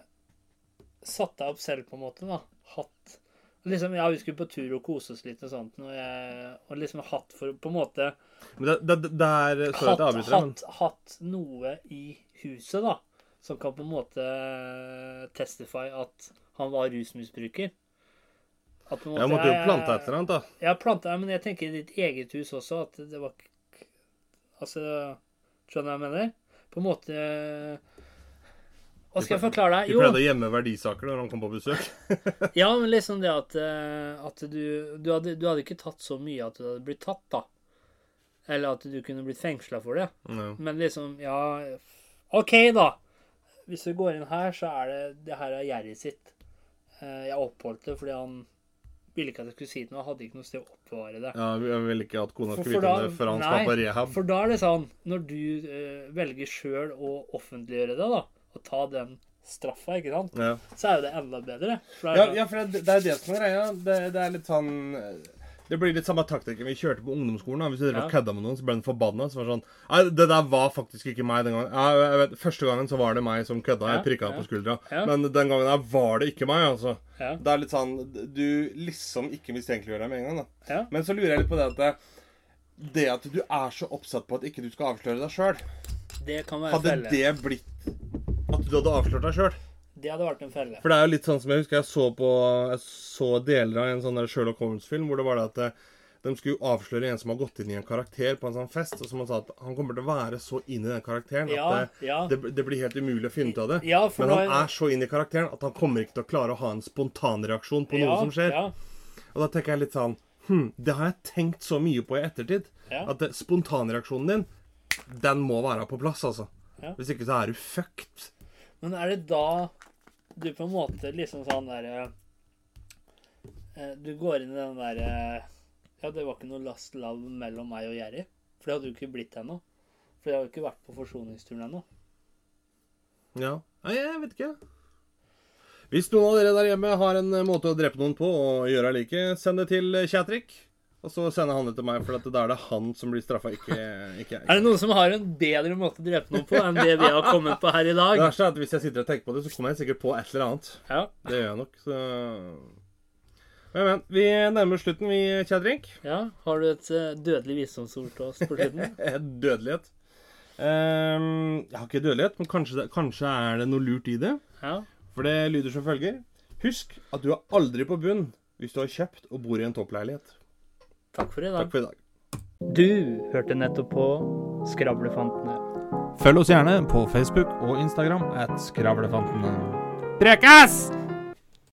[SPEAKER 1] satt deg opp selv, på en måte, da? Hatt Liksom, Ja, vi skulle på tur og kose oss litt og sånt, og, jeg, og liksom hatt for På en måte
[SPEAKER 2] Men det, det, det er Sorry at
[SPEAKER 1] hatt,
[SPEAKER 2] jeg avbryter. deg, men-
[SPEAKER 1] hatt, hatt noe i huset, da, som kan på en måte testify at han var rusmisbruker. At på en
[SPEAKER 2] Jeg måtte jo
[SPEAKER 1] jeg-
[SPEAKER 2] plante et eller annet, da.
[SPEAKER 1] Ja, planta, ja, men jeg tenker i ditt eget hus også, at det var ikke- Altså Skjønner du hva jeg mener? På en måte Hva skal jeg forklare deg?
[SPEAKER 2] Vi
[SPEAKER 1] Jo,
[SPEAKER 2] pleide å gjemme verdisaker når han kom på besøk.
[SPEAKER 1] ja, men liksom det at, eh, at du, du, hadde, du hadde ikke tatt så mye at du hadde blitt tatt, da. Eller at du kunne blitt fengsla for det.
[SPEAKER 2] Ja.
[SPEAKER 1] Men liksom, ja OK, da. Hvis du går inn her, så er det Det her er gjerdet sitt. Eh, Jeg oppholdt det fordi han ville ikke at jeg skulle si det noe. Jeg hadde ikke noe sted å oppbevare det.
[SPEAKER 2] Ja, vi- Jeg ville ikke at kona
[SPEAKER 1] For- for
[SPEAKER 2] skulle vite om
[SPEAKER 1] da-
[SPEAKER 2] det før han
[SPEAKER 1] nei,
[SPEAKER 2] skal på rehab.
[SPEAKER 1] For da er det sånn, når du eh, velger sjøl å offentliggjøre det, da, og ta den straffa, ikke sant,
[SPEAKER 2] Ja.
[SPEAKER 1] så er jo det enda bedre. For da er
[SPEAKER 2] Ja,
[SPEAKER 1] det-
[SPEAKER 2] ja, for det, det er det som er greia. Det, det er litt sånn Det blir litt samme taktikken vi kjørte på ungdomsskolen. da. Hvis du drev og
[SPEAKER 1] Ja.
[SPEAKER 2] kødda med noen, så ble den forbanna. Så var det sånn Nei, det der var faktisk ikke meg den gangen. Ja, jeg vet, første gangen så var det meg som kødda.
[SPEAKER 1] Ja,
[SPEAKER 2] Jeg prikka
[SPEAKER 1] ja.
[SPEAKER 2] på skuldra.
[SPEAKER 1] Ja.
[SPEAKER 2] Men den gangen der var det ikke meg, altså.
[SPEAKER 1] Ja.
[SPEAKER 2] Det er litt sånn Du liksom ikke mistenkeliggjør deg med en gang, da.
[SPEAKER 1] Ja.
[SPEAKER 2] Men så lurer jeg litt på det at det, det at du er så oppsatt på at ikke du skal avsløre deg sjøl
[SPEAKER 1] Det kan være en
[SPEAKER 2] Hadde
[SPEAKER 1] felle. Det...
[SPEAKER 2] det blitt at du hadde avslørt deg sjøl?
[SPEAKER 1] hadde vært en felle.
[SPEAKER 2] For det er jo litt sånn som jeg husker jeg så på Jeg så deler av en sånn der Sherlock Holmes-film hvor det var det at eh, De skulle jo avsløre en som har gått inn i en karakter på en sånn fest, og som han sa at han kommer til å være så inn i den karakteren at
[SPEAKER 1] Ja,
[SPEAKER 2] det,
[SPEAKER 1] ja.
[SPEAKER 2] det, det blir helt umulig å finne ut av det.
[SPEAKER 1] Ja, for
[SPEAKER 2] Men
[SPEAKER 1] da-
[SPEAKER 2] han er så inn i karakteren at han kommer ikke til å klare å ha en spontanreaksjon på noe
[SPEAKER 1] ja,
[SPEAKER 2] som skjer.
[SPEAKER 1] Ja.
[SPEAKER 2] Og da tenker jeg litt sånn Hm, det har jeg tenkt så mye på i ettertid.
[SPEAKER 1] Ja.
[SPEAKER 2] At det- spontanreaksjonen din, den må være på plass, altså.
[SPEAKER 1] Ja.
[SPEAKER 2] Hvis ikke så er du fucked.
[SPEAKER 1] Men er det da du på en måte liksom sånn derre Du går inn i den derre Ja, det var ikke noe last love mellom meg og Jerry. For det hadde jo ikke blitt ennå. For jeg har jo ikke vært på forsoningsturen ennå.
[SPEAKER 2] Ja. Nei, jeg vet ikke. Hvis noen av dere der hjemme har en eh, måte å drepe noen på og gjøre like, send det til eh, Kjatrik. Og så sender han det til meg, for at da er det han som blir straffa,
[SPEAKER 1] [LAUGHS]
[SPEAKER 2] ikke, ikke jeg.
[SPEAKER 1] Er det noen som har en bedre måte å drepe noen på enn det vi har kommet på her i
[SPEAKER 2] Det
[SPEAKER 1] dag?
[SPEAKER 2] verste er at hvis jeg sitter og tenker på det, så kommer jeg sikkert på et eller annet.
[SPEAKER 1] Ja.
[SPEAKER 2] Det gjør jeg nok, så Men, men. Vi nærmer oss slutten, vi, Kjatrik.
[SPEAKER 1] ja. Har du et eh, dødelig visdomsord til oss på [LAUGHS] slutten?
[SPEAKER 2] Dødelighet. Ehm, jeg har ikke dødelighet, men kanskje, det, kanskje er det noe lurt i det.
[SPEAKER 1] Ja.
[SPEAKER 2] For det lyder som følger. Husk at du er aldri på bunn hvis du har kjøpt og bor i en toppleilighet.
[SPEAKER 1] Takk for i dag.
[SPEAKER 2] Takk for i dag.
[SPEAKER 1] Du hørte nettopp på Skravlefantene.
[SPEAKER 3] Følg oss gjerne på Facebook og Instagram at Skravlefantene. Prekas!